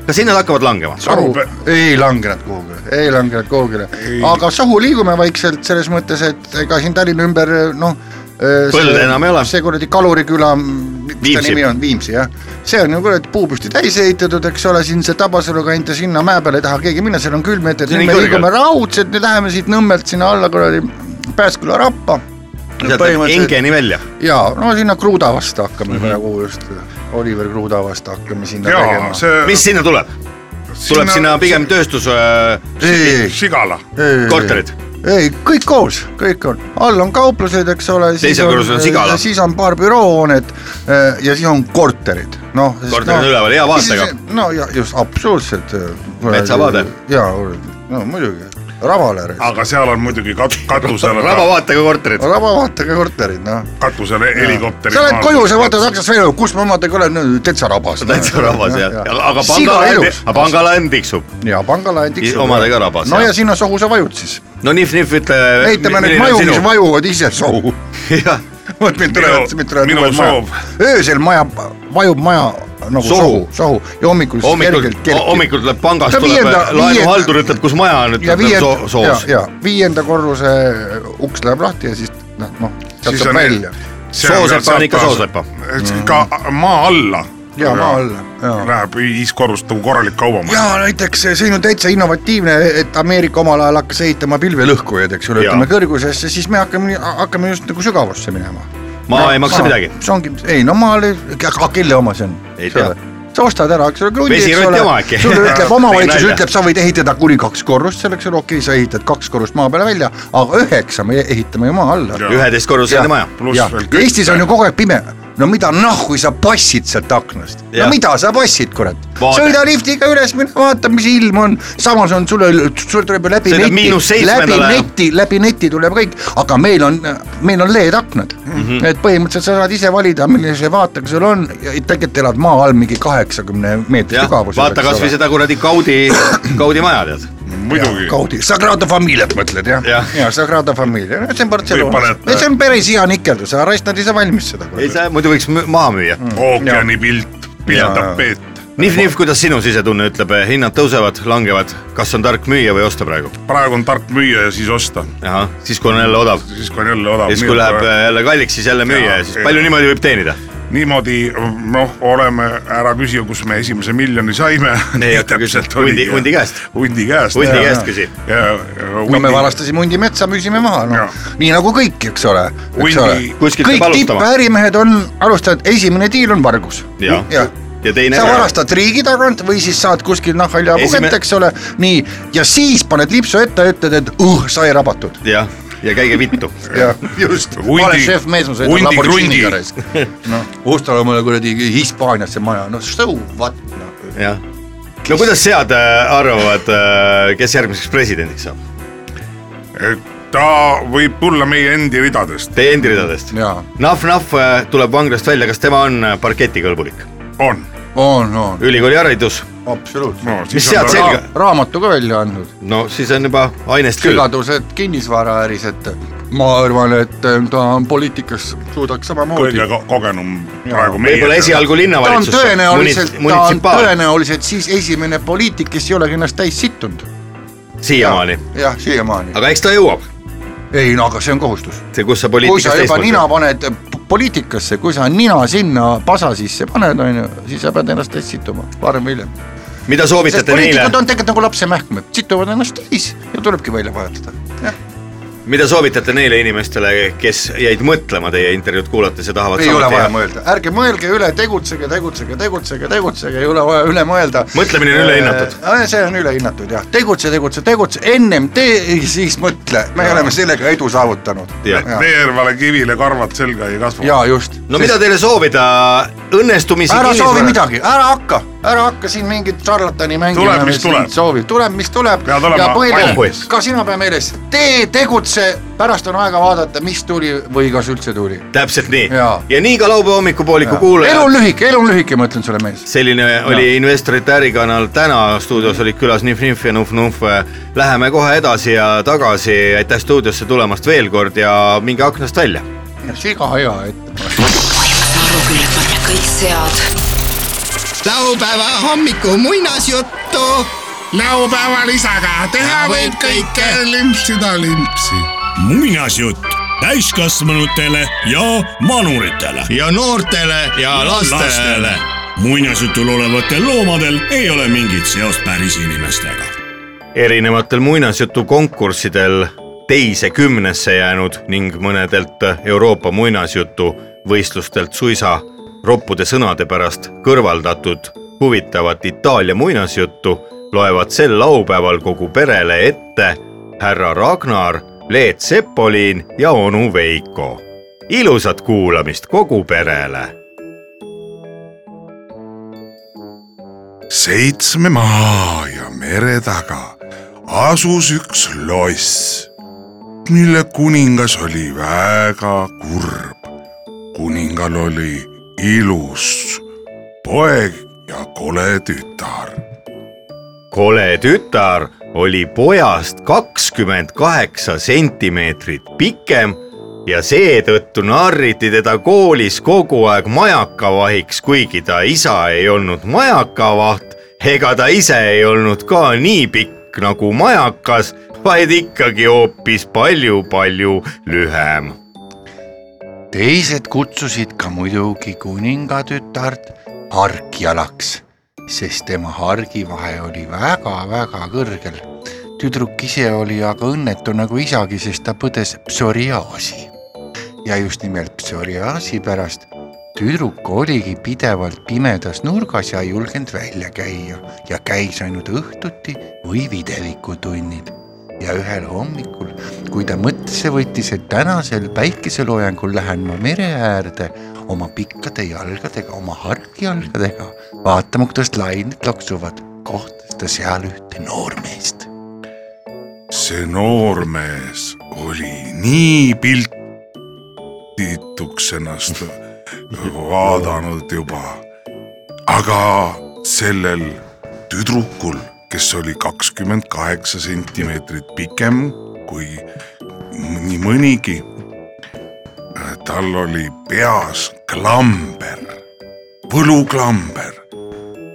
[SPEAKER 2] kas hinnad hakkavad langema ?
[SPEAKER 4] Sahu
[SPEAKER 3] Sahu-
[SPEAKER 4] ei langenud kuhugile , ei langenud kuhugile , aga Sahu liigume vaikselt selles mõttes , et ega siin Tallinna ümber noh ,
[SPEAKER 2] Põlde enam ei ole.
[SPEAKER 4] see kuradi Kaluriküla , mis ta
[SPEAKER 2] Viimsi.
[SPEAKER 4] nimi on , Viimsi jah , see on ju kuradi puupüsti täis ehitatud , eks ole , siin see Tabasalu kant ja sinna mäe peale ei taha keegi minna , seal on külm ette , et
[SPEAKER 2] See on nii
[SPEAKER 4] nüüd me
[SPEAKER 2] kõrgel.
[SPEAKER 4] liigume raudselt , nüüd läheme siit Nõmmelt sinna alla kuradi Pääsküla rappa .
[SPEAKER 2] sealt läheb hingeni välja .
[SPEAKER 4] ja no sinna Kruda vastu hakkame
[SPEAKER 2] Mhm.
[SPEAKER 4] mm -hmm. praegu just , Oliver Kruda vastu hakkame sinna
[SPEAKER 3] jaa ,
[SPEAKER 4] tegema .
[SPEAKER 3] see .
[SPEAKER 2] mis sinna tuleb ? tuleb sinna pigem tööstus äh, ,
[SPEAKER 4] ei ,
[SPEAKER 3] Sigala .
[SPEAKER 4] ei ,
[SPEAKER 2] korterid .
[SPEAKER 4] ei , kõik koos , kõik on , all on kauplused , eks ole .
[SPEAKER 2] Teisel korrusel on sigala.
[SPEAKER 4] siis on paar büroohoonet eh, ja siis on korterid , noh .
[SPEAKER 2] Korterid üleval, hea vaatega. .
[SPEAKER 4] no ja just absoluutselt .
[SPEAKER 2] Metsavaade.
[SPEAKER 4] jaa , no muidugi , Ravalere ,
[SPEAKER 2] Ah.
[SPEAKER 3] aga seal on muidugi kat- , katusel ,
[SPEAKER 2] rabavaatega korterid .
[SPEAKER 4] rabavaatega korterid , noh .
[SPEAKER 3] katusel helikopteri .
[SPEAKER 4] sa lähed koju , sa vaatad aknast välja , kus ma omadega olen , täitsa rabas . noh.
[SPEAKER 2] täitsa rabas jah , aga pangalaen
[SPEAKER 4] pangalaen ,.
[SPEAKER 2] aga pangalaen tiksub .
[SPEAKER 4] jaa , pangalaen tiksub .
[SPEAKER 2] omadega rabas,
[SPEAKER 4] no
[SPEAKER 2] jah. Eh,
[SPEAKER 4] ja sinna sohu sa vajud siis .
[SPEAKER 2] no nihv-nihv , ütle .
[SPEAKER 4] ehitame neid maju , mis . vajuvad ise sohu
[SPEAKER 2] jah ,
[SPEAKER 4] vot mind tulevad , mind tulevad
[SPEAKER 3] minu
[SPEAKER 4] uued maja
[SPEAKER 3] soov. .
[SPEAKER 4] öösel maja , vajub maja nagu sohu
[SPEAKER 2] Sohu. ,
[SPEAKER 4] sohu ja hommikul siis
[SPEAKER 2] hommikul
[SPEAKER 4] kergelt , kerkib .
[SPEAKER 2] hommikul tuleb pangast ,
[SPEAKER 4] Ja
[SPEAKER 2] tuleb eh,
[SPEAKER 4] viienda-
[SPEAKER 2] laenuhaldur , ütleb , kus maja on ,
[SPEAKER 4] ja
[SPEAKER 2] ütleb
[SPEAKER 4] viienda , ja
[SPEAKER 2] soos ,.
[SPEAKER 4] ja viienda korruse uks läheb lahti ja siis noh , noh , sealt
[SPEAKER 3] Siis
[SPEAKER 4] saab
[SPEAKER 3] on-
[SPEAKER 4] välja .
[SPEAKER 2] soosepa on ikka soosepa .
[SPEAKER 3] ka maa alla .
[SPEAKER 4] ja Mm. maa alla , ja .
[SPEAKER 3] Läheb viis korrust nagu korralik kaubamaja .
[SPEAKER 4] ja näiteks eh, siin on täitsa innovatiivne , et Ameerika omal ajal hakkas ehitama pilvelõhkujaid , eks ole ,
[SPEAKER 2] Jaa.
[SPEAKER 4] ütleme kõrgusesse , siis me hakkame , hakkame just nagu sügavusse minema .
[SPEAKER 2] maa ei maksa midagi .
[SPEAKER 4] see ongi , ei no maal , aga kelle oma see on ?
[SPEAKER 2] Ei tea.
[SPEAKER 4] sa ostad ära , eks ole , krundi , eks
[SPEAKER 2] Vesirott
[SPEAKER 4] ole
[SPEAKER 2] jama äkki. ,
[SPEAKER 4] sulle ütleb omavalitsus ,
[SPEAKER 2] Tegin nalja.
[SPEAKER 4] ütleb , sa võid ehitada kuni kaks korrust , selleks on okei okay, , sa ehitad kaks korrust maa peale välja , aga üheksa me ehitame ju maa alla .
[SPEAKER 2] üheteistkorruseline maja .
[SPEAKER 3] pluss
[SPEAKER 4] jah
[SPEAKER 3] veel , kütte.
[SPEAKER 4] Eestis on ju kogu aeg pime , no mida nahku sa passid sealt aknast , no
[SPEAKER 2] Jah.
[SPEAKER 4] mida sa passid , kurat .
[SPEAKER 2] Vaade.
[SPEAKER 4] sõida liftiga üles , mine vaata , mis ilm on , samas on sulle , sul tuleb ju läbi
[SPEAKER 2] Sõidab miinus
[SPEAKER 4] neti , läbi
[SPEAKER 2] seitsmendale.
[SPEAKER 4] neti , läbi neti tuleb kõik , aga meil on , meil on LED-aknad mm .
[SPEAKER 2] Mhm.
[SPEAKER 4] -hmm. et põhimõtteliselt sa saad ise valida , millise vaatega sul on , tegelikult elad maa all mingi kaheksakümne meetri
[SPEAKER 2] jah ,
[SPEAKER 4] sügavusel .
[SPEAKER 2] vaata kasvõi seda kuradi Gaudi , Gaudi maja tead .
[SPEAKER 3] muidugi .
[SPEAKER 4] Gaudi , Sagrada Familiat mõtled jah ja.
[SPEAKER 2] Jah. ?
[SPEAKER 4] jaa , Sagrada Familia , see on Barcelona
[SPEAKER 3] paned- ,
[SPEAKER 4] see on päris hea nikeldus , ära raisk nad ise valmis seda .
[SPEAKER 2] ei sa muidu võiks mü- maha müüa .
[SPEAKER 4] Mm.
[SPEAKER 3] ookeanipilt ,
[SPEAKER 4] Jaa.
[SPEAKER 3] pildab Peet .
[SPEAKER 2] nihv-nihv , kuidas sinu sisetunne ütleb , hinnad tõusevad , langevad , kas on tark müüa või osta praegu ?
[SPEAKER 3] praegu on tark müüa ja siis osta ,
[SPEAKER 2] ahah , siis kui on jälle odav .
[SPEAKER 3] siis kui on jälle odav .
[SPEAKER 2] ja siis , kui läheb äh, jälle kalliks , siis jälle müüa ja siis palju niimoodi võib teenida ?
[SPEAKER 3] niimoodi noh , oleme , ära küsi , kus me esimese miljoni saime .
[SPEAKER 2] Ei hakka küsima. Hundi- hundi käest.
[SPEAKER 3] hundi käest .
[SPEAKER 2] Hundi käest küsi.
[SPEAKER 4] no me varastasime hundi metsa , müüsime maha ,
[SPEAKER 3] Jaa.
[SPEAKER 4] noh . nii nagu kõik , eks ole .
[SPEAKER 3] Hundi-
[SPEAKER 2] kuskilt
[SPEAKER 4] kõik
[SPEAKER 2] peab alustama.
[SPEAKER 4] tippärimehed on alustanud , esimene diil on vargus .
[SPEAKER 2] Jaa. ja teine
[SPEAKER 4] sa . varastad riigi tagant või siis saad kuskil nahhalja
[SPEAKER 2] Esime-
[SPEAKER 4] puget , eks ole , nii , ja siis paned lipsu ette ja ütled , et uh , sai rabatud .
[SPEAKER 2] jah , ja käige vittu .
[SPEAKER 4] jah , just ,
[SPEAKER 3] Hundi-
[SPEAKER 4] ma olen šefmees , ma sõidan
[SPEAKER 3] hundi
[SPEAKER 4] Lamborghiniga
[SPEAKER 3] krundi.
[SPEAKER 4] raisk . noh , ostan omale kuradi Hispaaniasse maja , no so what no. .
[SPEAKER 2] jah . no kuidas sead äh, arvavad , kes järgmiseks presidendiks saab ?
[SPEAKER 3] ta võib tulla meie endi ridadest ,
[SPEAKER 2] Teie endi ridadest ?
[SPEAKER 4] jaa ,
[SPEAKER 2] Nahv-Nahv äh, tuleb vanglast välja , kas tema on äh, parketikõlbulik ?
[SPEAKER 3] on .
[SPEAKER 4] on , on ,
[SPEAKER 2] ülikooli haridus ,
[SPEAKER 4] absoluutselt .
[SPEAKER 3] No,
[SPEAKER 2] mis sead selga ?
[SPEAKER 4] raamatu ka välja andnud .
[SPEAKER 2] no siis on juba ainest küll .
[SPEAKER 4] segadused kinnisvaraäris , et ma arvan , et eh, ta on poliitikas , suudaks samamoodi .
[SPEAKER 3] kõige ko- kogenum praegu meie .
[SPEAKER 2] võib-olla . esialgu
[SPEAKER 4] ta on
[SPEAKER 2] linnavalitsusse .
[SPEAKER 4] tõenäoliselt , ta on tõenäoliselt siis esimene poliitik , kes ei olegi ennast täis sittunud .
[SPEAKER 2] siiamaani ,
[SPEAKER 4] jah , siiamaani .
[SPEAKER 2] aga eks ta jõuab ,
[SPEAKER 4] ei no aga see on kohustus .
[SPEAKER 2] see , kus sa
[SPEAKER 4] kui sa
[SPEAKER 2] poliitikas
[SPEAKER 4] juba
[SPEAKER 2] teistmoodi
[SPEAKER 4] nina . paned p- poliitikasse , kui sa nina sinna pasa sisse paned , on ju , siis sa pead ennast täis sittuma , varem või hiljem .
[SPEAKER 2] mida
[SPEAKER 4] sest
[SPEAKER 2] soovitate neile
[SPEAKER 4] poliitikud , on tegelikult nagu lapsemähkmed , situvad ennast täis ja tulebki välja vajutada .
[SPEAKER 2] mida soovitate neile inimestele , kes jäid mõtlema teie intervjuud kuulates ja tahavad
[SPEAKER 4] ei ole
[SPEAKER 2] samuti
[SPEAKER 4] vaja
[SPEAKER 2] teha?
[SPEAKER 4] mõelda , ärge mõelge üle , tegutsege , tegutsege , tegutsege , tegutsege , ei ole vaja üle mõelda .
[SPEAKER 2] Mõtlemine on ülehinnatud. .
[SPEAKER 4] see on ülehinnatud jah , tegutse , tegutse , tegutse , ennem tee , siis mõtle , me oleme sellega edu saavutanud .
[SPEAKER 2] Jah.
[SPEAKER 3] veervale kivile karvad selga ei kasva .
[SPEAKER 4] ja just .
[SPEAKER 2] no mida teile soovida , õnnestumisi
[SPEAKER 4] ära soovi . midagi , ära hakka , ära hakka siin mingit šarlatani mängima .
[SPEAKER 3] Tuleb, mis tuleb.
[SPEAKER 4] soovib , tuleb , mis tuleb
[SPEAKER 3] Pead olema
[SPEAKER 4] põhiline
[SPEAKER 2] valmis. ,
[SPEAKER 4] ka sina pea meeles , tee , tegutse , pärast on aega vaadata , mis tuli või kas üldse tuli .
[SPEAKER 2] täpselt nii
[SPEAKER 4] Jaa.
[SPEAKER 2] ja nii ka laupäeva hommikupooliku
[SPEAKER 4] elu
[SPEAKER 2] kuulajad
[SPEAKER 4] on lühike , elu on lühike , ma ütlen sulle , mees .
[SPEAKER 2] selline oli Investorite ärikanal täna , stuudios olid külas Nihv Nihv ja Nuf Nuf . Läheme kohe edasi ja tagasi , aitäh stuudiosse tulemast veel kord ja minge aknast välja .
[SPEAKER 4] siga hea ette .
[SPEAKER 7] saan aru küll , et nad kõik sead .
[SPEAKER 1] laupäeva hommiku muinasjuttu
[SPEAKER 6] laupäeval isaga teha võib kõike , limpsida limpsi
[SPEAKER 8] muinasjutt
[SPEAKER 5] täiskasvanutele ja vanuritele .
[SPEAKER 1] ja noortele ja lastele .
[SPEAKER 5] muinasjutul olevatel loomadel ei ole mingit seost päris inimestega .
[SPEAKER 2] erinevatel muinasjutukonkurssidel teise kümnesse jäänud ning mõnedelt Euroopa muinasjutuvõistlustelt suisa roppude sõnade pärast kõrvaldatud huvitavat Itaalia muinasjuttu loevad sel laupäeval kogu perele ette härra Ragnar , Leet Sepolin ja onu Veiko . ilusat kuulamist kogu perele
[SPEAKER 3] seitsme maa ja mere taga asus üks loss , mille kuningas oli väga kurb . kuningal oli ilus poeg ja kole tütar .
[SPEAKER 2] kole tütar oli pojast kakskümmend kaheksa sentimeetrit pikem ja seetõttu narriti teda koolis kogu aeg majakavahiks , kuigi ta isa ei olnud majakavaht ega ta ise ei olnud ka nii pikk nagu majakas , vaid ikkagi hoopis palju-palju lühem .
[SPEAKER 4] teised kutsusid ka muidugi kuningatütart harkjalaks , sest tema hargivahe oli väga-väga kõrgel . tüdruk ise oli aga õnnetu nagu isagi , sest ta põdes psoriaasi . ja just nimelt psoriaasi pärast tüdruk oligi pidevalt pimedas nurgas ja ei julgenud välja käia ja käis ainult õhtuti või videvikutundid ja ühel hommikul , kui ta mõttesse võttis , et tänasel päikeseloojangul lähen ma mere äärde oma pikkade jalgadega , oma harkjalgadega , vaatama , kuidas lained loksuvad , kohtas ta seal ühte noormeest .
[SPEAKER 3] see noormees oli nii piltituks ennast vaadanud juba , aga sellel tüdrukul , kes oli kakskümmend kaheksa sentimeetrit pikem kui nii mõnigi , tal oli peas klamber , võluklamber ,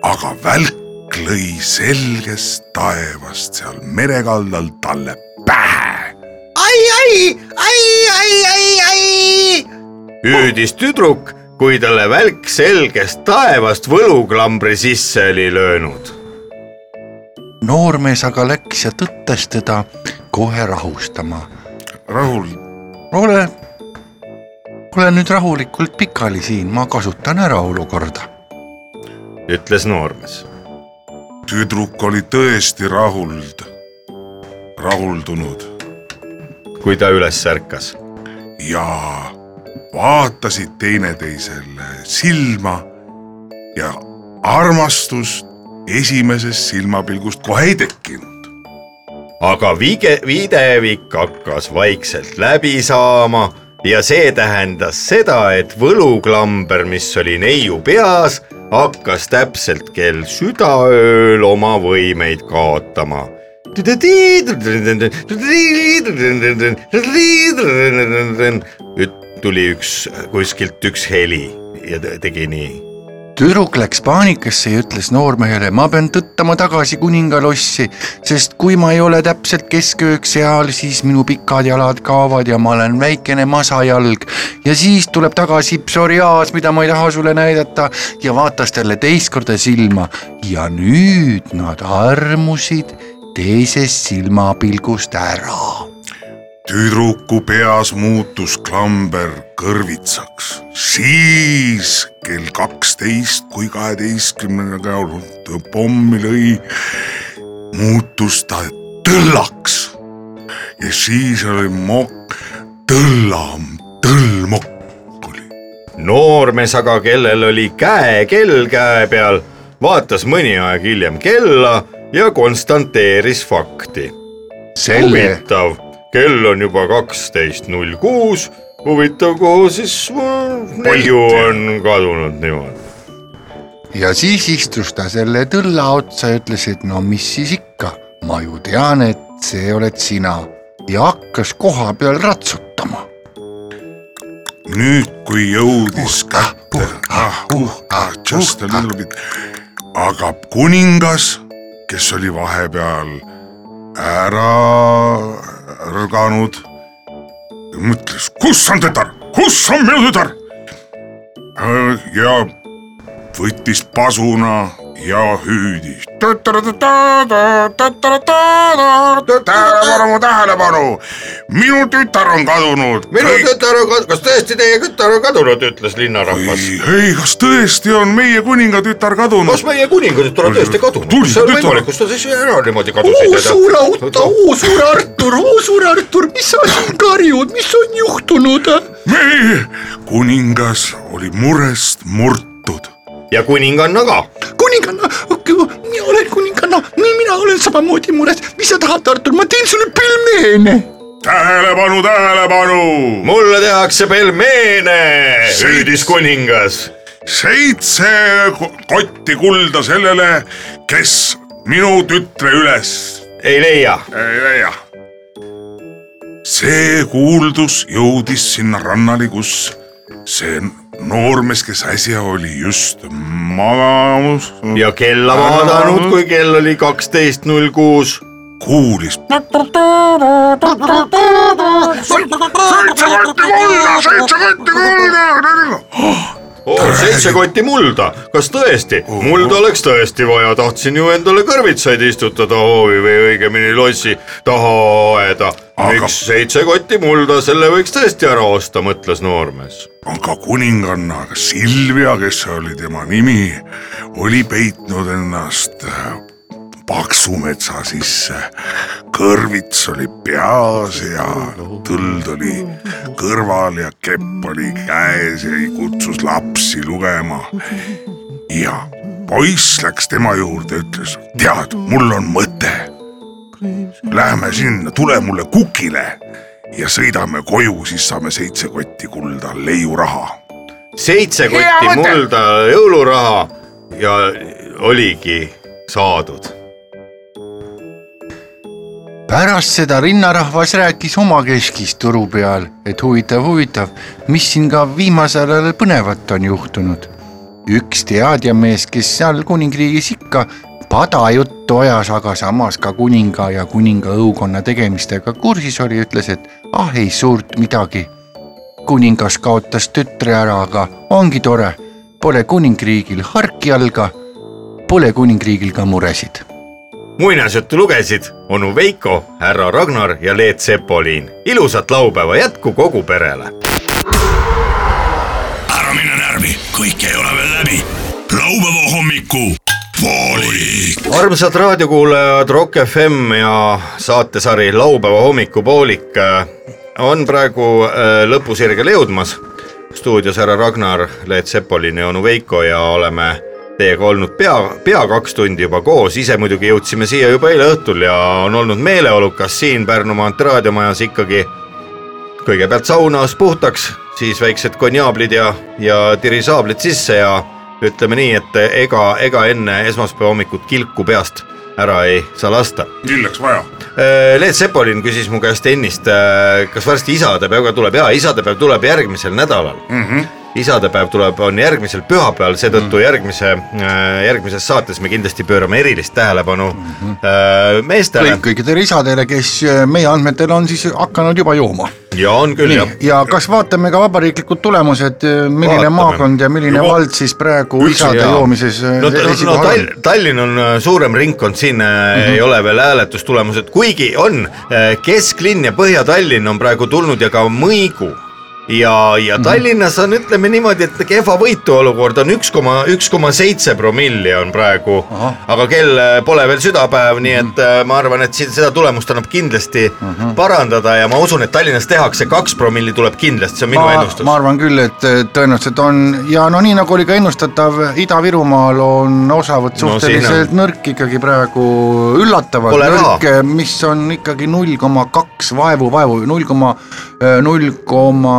[SPEAKER 3] aga välk lõi selgest taevast seal merekaldal talle pähe .
[SPEAKER 2] hüüdis tüdruk , kui talle välk selgest taevast võluklambri sisse oli löönud
[SPEAKER 4] noormees aga läks ja tõttas teda kohe rahustama .
[SPEAKER 3] rahul ,
[SPEAKER 4] ole , ole nüüd rahulikult pikali siin , ma kasutan ära olukorda .
[SPEAKER 2] ütles noormees .
[SPEAKER 3] tüdruk oli tõesti rahuld , rahuldunud
[SPEAKER 2] kui ta üles ärkas
[SPEAKER 3] ja vaatasid teineteisele silma ja armastust esimesest silmapilgust kohe ei tekkinud .
[SPEAKER 2] aga vige , videvik hakkas vaikselt läbi saama ja see tähendas seda , et võluklamber , mis oli neiu peas , hakkas täpselt kell südaööl oma võimeid kaotama . tuli üks , kuskilt üks heli ja te- tegi nii
[SPEAKER 4] tüdruk läks paanikasse ja ütles noormehele , ma pean tõttama tagasi kuningalossi , sest kui ma ei ole täpselt keskööks seal , siis minu pikad jalad kaovad ja ma olen väikene masajalg ja siis tuleb tagasi psoriaas , mida ma ei taha sulle näidata ja vaatas talle teist korda silma ja nüüd nad armusid teisest silmapilgust ära
[SPEAKER 3] tüdruku peas muutus klamber kõrvitsaks , siis kell kaksteist kui kaheteistkümnendaga pommi lõi , muutus ta tõllaks ja siis oli mokk , tõllam , tõllmokk oli .
[SPEAKER 2] noormees aga , kellel oli käekell käe peal , vaatas mõni aeg hiljem kella ja konstanteeris fakti .
[SPEAKER 4] selle
[SPEAKER 2] huvitav , kell on juba kaksteist null kuus , huvitav , kuhu siis äh, neiu on kadunud niimoodi .
[SPEAKER 4] ja siis istus ta selle tõlla otsa ja ütles , et no mis siis ikka , ma ju tean , et see oled sina ja hakkas koha peal ratsutama .
[SPEAKER 3] nüüd , kui jõudis kätte , ah , ah , just a little bit , aga kuningas , kes oli vahepeal ära ärganud , mõtles , kus on tütar , kus on minu tütar ? ja võttis pasuna ja hüüdis . tähelepanu , tähelepanu , minu tütar on kadunud .
[SPEAKER 2] minu tütar on kadunud , kas tõesti teie tütar on kadunud , ütles linnarahvas .
[SPEAKER 3] ei , kas tõesti on meie kuningatütar kadunud
[SPEAKER 2] kas ? meie kuningatütar on tõesti kadunud ?
[SPEAKER 3] Tuli
[SPEAKER 2] kas see on
[SPEAKER 3] tütar.
[SPEAKER 2] võimalik , kus ta siis ära niimoodi kadus ei tea ?
[SPEAKER 9] auto , oo suur Artur ,
[SPEAKER 4] Oh,
[SPEAKER 9] oo suur Artur , mis sa siin karjud , mis on juhtunud ?
[SPEAKER 3] meie kuningas oli murest murtud .
[SPEAKER 2] ja kuninganna ka .
[SPEAKER 9] kuninganna , mina olen kuninganna , mina olen samamoodi mures , mis sa tahad , Artur , ma teen sulle pelmeene .
[SPEAKER 3] tähelepanu , tähelepanu
[SPEAKER 2] mulle tehakse pelmeene , hüüdis kuningas .
[SPEAKER 3] seitse ko- kotti kulda sellele , kes minu tütre üles
[SPEAKER 2] ei leia .
[SPEAKER 3] ei leia . see kuuldus jõudis sinna rannale , kus see noormees , kes äsja oli just magamas ,
[SPEAKER 2] ja kella vaadanud , kui kell oli kaksteist null kuus .
[SPEAKER 3] kuulis . seitse kotti kulda , seitse kotti kulda .
[SPEAKER 2] Oh, seitse kotti mulda , kas tõesti ? mulda oleks tõesti vaja , tahtsin ju endale kõrvitsaid istutada hoovi või õigemini lossi taha aeda .
[SPEAKER 3] Aga-
[SPEAKER 2] miks seitse kotti mulda , selle võiks tõesti ära osta , mõtles noormees .
[SPEAKER 3] aga kuninganna Silvia , kes oli tema nimi , oli peitnud ennast äh, paksumetsa sisse . kõrvits oli peas ja tõld oli kõrval ja kepp oli käes ja kutsus lapsi lugema . ja poiss läks tema juurde , ütles , tead , mul on mõte . Läheme sinna , tule mulle kukile ja sõidame koju , siis saame seitse kotti kulda leiuraha
[SPEAKER 2] seitse kotti mulda jõuluraha ja oligi saadud .
[SPEAKER 4] pärast seda rinnarahvas rääkis omakeskis turu peal , et huvitav , huvitav , mis siin ka viimasel ajal põnevat on juhtunud . üks teadjamees , kes seal kuningriigis ikka padajuttu ajas , aga samas ka kuninga ja kuninga õukonna tegemistega kursis oli , ütles , et ah ei suurt midagi . kuningas kaotas tütre ära , aga ongi tore , pole kuningriigil harki all ka , pole kuningriigil ka muresid
[SPEAKER 2] muinasjuttu lugesid onu Veiko , härra Ragnar ja Leet Sepoliin . ilusat laupäeva jätku kogu perele
[SPEAKER 8] ära mine närvi , kõik ei ole veel läbi . laupäeva hommiku poolik .
[SPEAKER 2] armsad raadiokuulajad , Rock FM ja saatesari Laupäeva hommikupoolik äh, on praegu äh, lõpusirgele jõudmas . stuudios härra Ragnar , Leet Sepolin ja onu Veiko ja oleme teiega olnud pea , pea kaks tundi juba koos , ise muidugi jõudsime siia juba eile õhtul ja on olnud meeleolukas siin Pärnu maantee raadiomajas ikkagi kõigepealt saunas puhtaks , siis väiksed konjaablid ja , ja tirisaablid sisse ja ütleme nii , et ega , ega enne esmaspäeva hommikut kilku peast ära ei saa lasta .
[SPEAKER 3] milleks vaja ?
[SPEAKER 2] Leet Sepolin küsis mu käest ennist , kas varsti isadepäev ka tuleb ja isadepäev tuleb järgmisel nädalal mm . -hmm isadepäev tuleb , on järgmisel pühapäeval , seetõttu mm. järgmise , järgmises saates me kindlasti pöörame erilist tähelepanu mm -hmm. meestele
[SPEAKER 4] kõik , kõikidele isadele , kes äh, meie andmetel on siis hakanud juba jooma .
[SPEAKER 2] ja on küll jah .
[SPEAKER 4] ja kas vaatame ka vabariiklikud tulemused , milline
[SPEAKER 2] Vaatame.
[SPEAKER 4] vaatame. maakond ja milline
[SPEAKER 2] Juba-
[SPEAKER 4] Juba. vald siis praegu
[SPEAKER 2] Üldse
[SPEAKER 4] isade
[SPEAKER 2] jaa.
[SPEAKER 4] joomises äh,
[SPEAKER 2] no,
[SPEAKER 4] no,
[SPEAKER 2] ta- no,
[SPEAKER 4] esikohal
[SPEAKER 2] Tall
[SPEAKER 4] on ? Mhm.
[SPEAKER 2] Tallinn on äh, suurem ringkond , siin mm -hmm. ei ole veel hääletustulemused , kuigi on äh, kesklinn ja Põhja-Tallinn on praegu tulnud ja ka Mõigu ja , ja
[SPEAKER 4] Mhm.
[SPEAKER 2] Tallinnas on , ütleme niimoodi , et kehva võitu olukord on üks koma , üks koma seitse promilli on praegu , aga kell äh, pole veel südapäev , nii
[SPEAKER 4] Mhm.
[SPEAKER 2] et äh, ma arvan , et siin seda tulemust annab kindlasti mm -hmm. parandada ja ma usun , et Tallinnas tehakse kaks promilli tuleb kindlasti , see on minu
[SPEAKER 4] ma
[SPEAKER 2] ma, ennustus ,
[SPEAKER 4] ma arvan küll , et tõenäoliselt on ja no nii nagu oli ka ennustatav , Ida-Virumaal on osavõtt
[SPEAKER 2] No siin
[SPEAKER 4] suhteliselt no, nõrk ikkagi praegu , üllatavalt
[SPEAKER 2] Pole raha.
[SPEAKER 4] nõrk , mis on ikkagi null koma kaks vaevu , vaevu null koma , null koma ,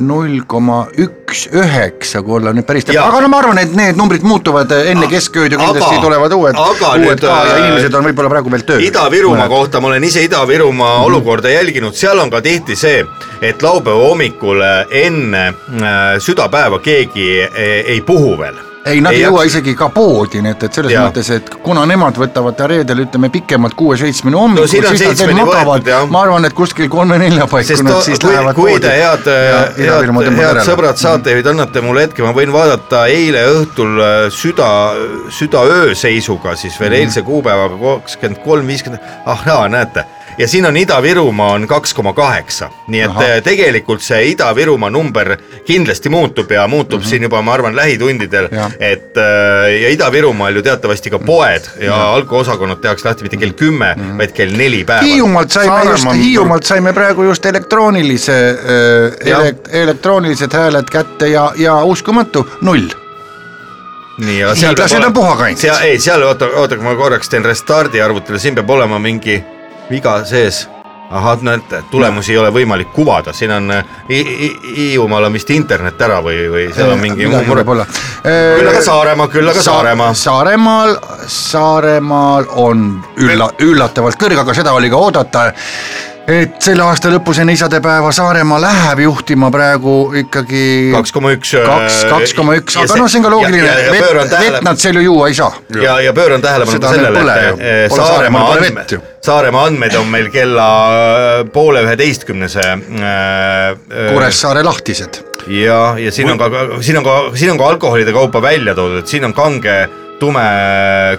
[SPEAKER 4] null koma üks üheksa , kui olla nüüd päris täpne ,
[SPEAKER 2] Jaa.
[SPEAKER 4] aga no ma arvan , et need numbrid muutuvad äh, enne keskööd ja kindlasti
[SPEAKER 2] aga-
[SPEAKER 4] tulevad uued ,
[SPEAKER 2] aga nüüd,
[SPEAKER 4] uued ka ja
[SPEAKER 2] äh,
[SPEAKER 4] inimesed on võib-olla praegu veel tööl .
[SPEAKER 2] Ida-Virumaa kohta , ma olen ise Ida-Virumaa
[SPEAKER 4] Mhm.
[SPEAKER 2] mm -hmm. olukorda jälginud , seal on ka tihti see , et laupäeva hommikul enne äh, südapäeva keegi e, ei, ei puhu veel
[SPEAKER 4] ei , nad
[SPEAKER 2] Ei
[SPEAKER 4] ei jõua
[SPEAKER 2] jaksa.
[SPEAKER 4] isegi ka poodi , nii et , et selles
[SPEAKER 2] Jaa.
[SPEAKER 4] ja. mõttes , et kuna nemad võtavad ta reedel , ütleme pikemalt kuue-seitsmeni hommikul
[SPEAKER 2] No siin on seitsmeni võetud, jah.
[SPEAKER 4] ma arvan , et kuskil kolme-nelja paiku
[SPEAKER 2] sest
[SPEAKER 4] nad
[SPEAKER 2] to-
[SPEAKER 4] siis
[SPEAKER 2] kui,
[SPEAKER 4] lähevad
[SPEAKER 2] kui te
[SPEAKER 4] poodi
[SPEAKER 2] head , head , head
[SPEAKER 4] Mm.
[SPEAKER 2] sõbrad , saatejuhid annate mulle hetke , ma võin vaadata eile õhtul äh, süda , südaöö seisuga siis
[SPEAKER 4] Mhm.
[SPEAKER 2] veel eilse kuupäevaga kakskümmend kolm , viiskümmend , ahaa , näete . ja siin on Ida-Virumaa on kaks koma kaheksa , nii et
[SPEAKER 4] Ahah.
[SPEAKER 2] äh, tegelikult see Ida-Virumaa number kindlasti muutub ja muutub
[SPEAKER 4] Mhm.
[SPEAKER 2] siin juba , ma arvan , lähitundidel
[SPEAKER 4] Jah. ,
[SPEAKER 2] et äh, ja Ida-Virumaal ju teatavasti ka poed ja alkoosakonnad tehakse lahti mitte kell kümme ,
[SPEAKER 4] Mhm.
[SPEAKER 2] vaid kell neli päeval .
[SPEAKER 4] Hiiumaalt saime just ,
[SPEAKER 3] Saaremaa-
[SPEAKER 4] Hiiumaalt saime praegu just elektroonilise äh,
[SPEAKER 2] Jah. ,
[SPEAKER 4] elektroonilised hääled kätte ja , ja uskumatu , null .
[SPEAKER 2] nii , aga seal
[SPEAKER 4] Hiidlased on puhakandjad.
[SPEAKER 2] seal , ei seal oota , oota , ma korraks teen restardi arvutile , siin peab olema mingi viga sees . ahah , näete , tulemusi ei ole võimalik kuvada , siin on äh, Hi- Hi- Hiiumaal on vist internet ära või , või seal on mingi muu mure . küll aga Saaremaa , küll aga Saaremaa .
[SPEAKER 4] Äh, Saaremaal , Saaremaal on ülla- , üllatavalt kõrge , aga seda oli ka oodata , et selle aasta lõpus enne isadepäeva Saaremaa läheb juhtima praegu ikkagi
[SPEAKER 2] kaks koma üks . äh,
[SPEAKER 4] kaks , kaks koma üks , aga noh , see on ka loogiline , vett , vett nad seal ju juua ei saa .
[SPEAKER 2] ja , ja pööran tähelepanu
[SPEAKER 4] Seda
[SPEAKER 2] ka
[SPEAKER 4] neil
[SPEAKER 2] sellele ,
[SPEAKER 4] pole
[SPEAKER 2] et
[SPEAKER 4] ju.
[SPEAKER 2] eh,
[SPEAKER 4] Pole
[SPEAKER 2] Saaremaa
[SPEAKER 4] Saaremaal pole
[SPEAKER 2] andmed
[SPEAKER 4] vett ju. ,
[SPEAKER 2] Saaremaa andmed on meil kella äh, poole üheteistkümnese . äh,
[SPEAKER 4] Kuressaare lahtised .
[SPEAKER 2] ja , ja siin on ka , siin on ka , siin on ka alkoholide kaupa välja toodud , et siin on kange , tume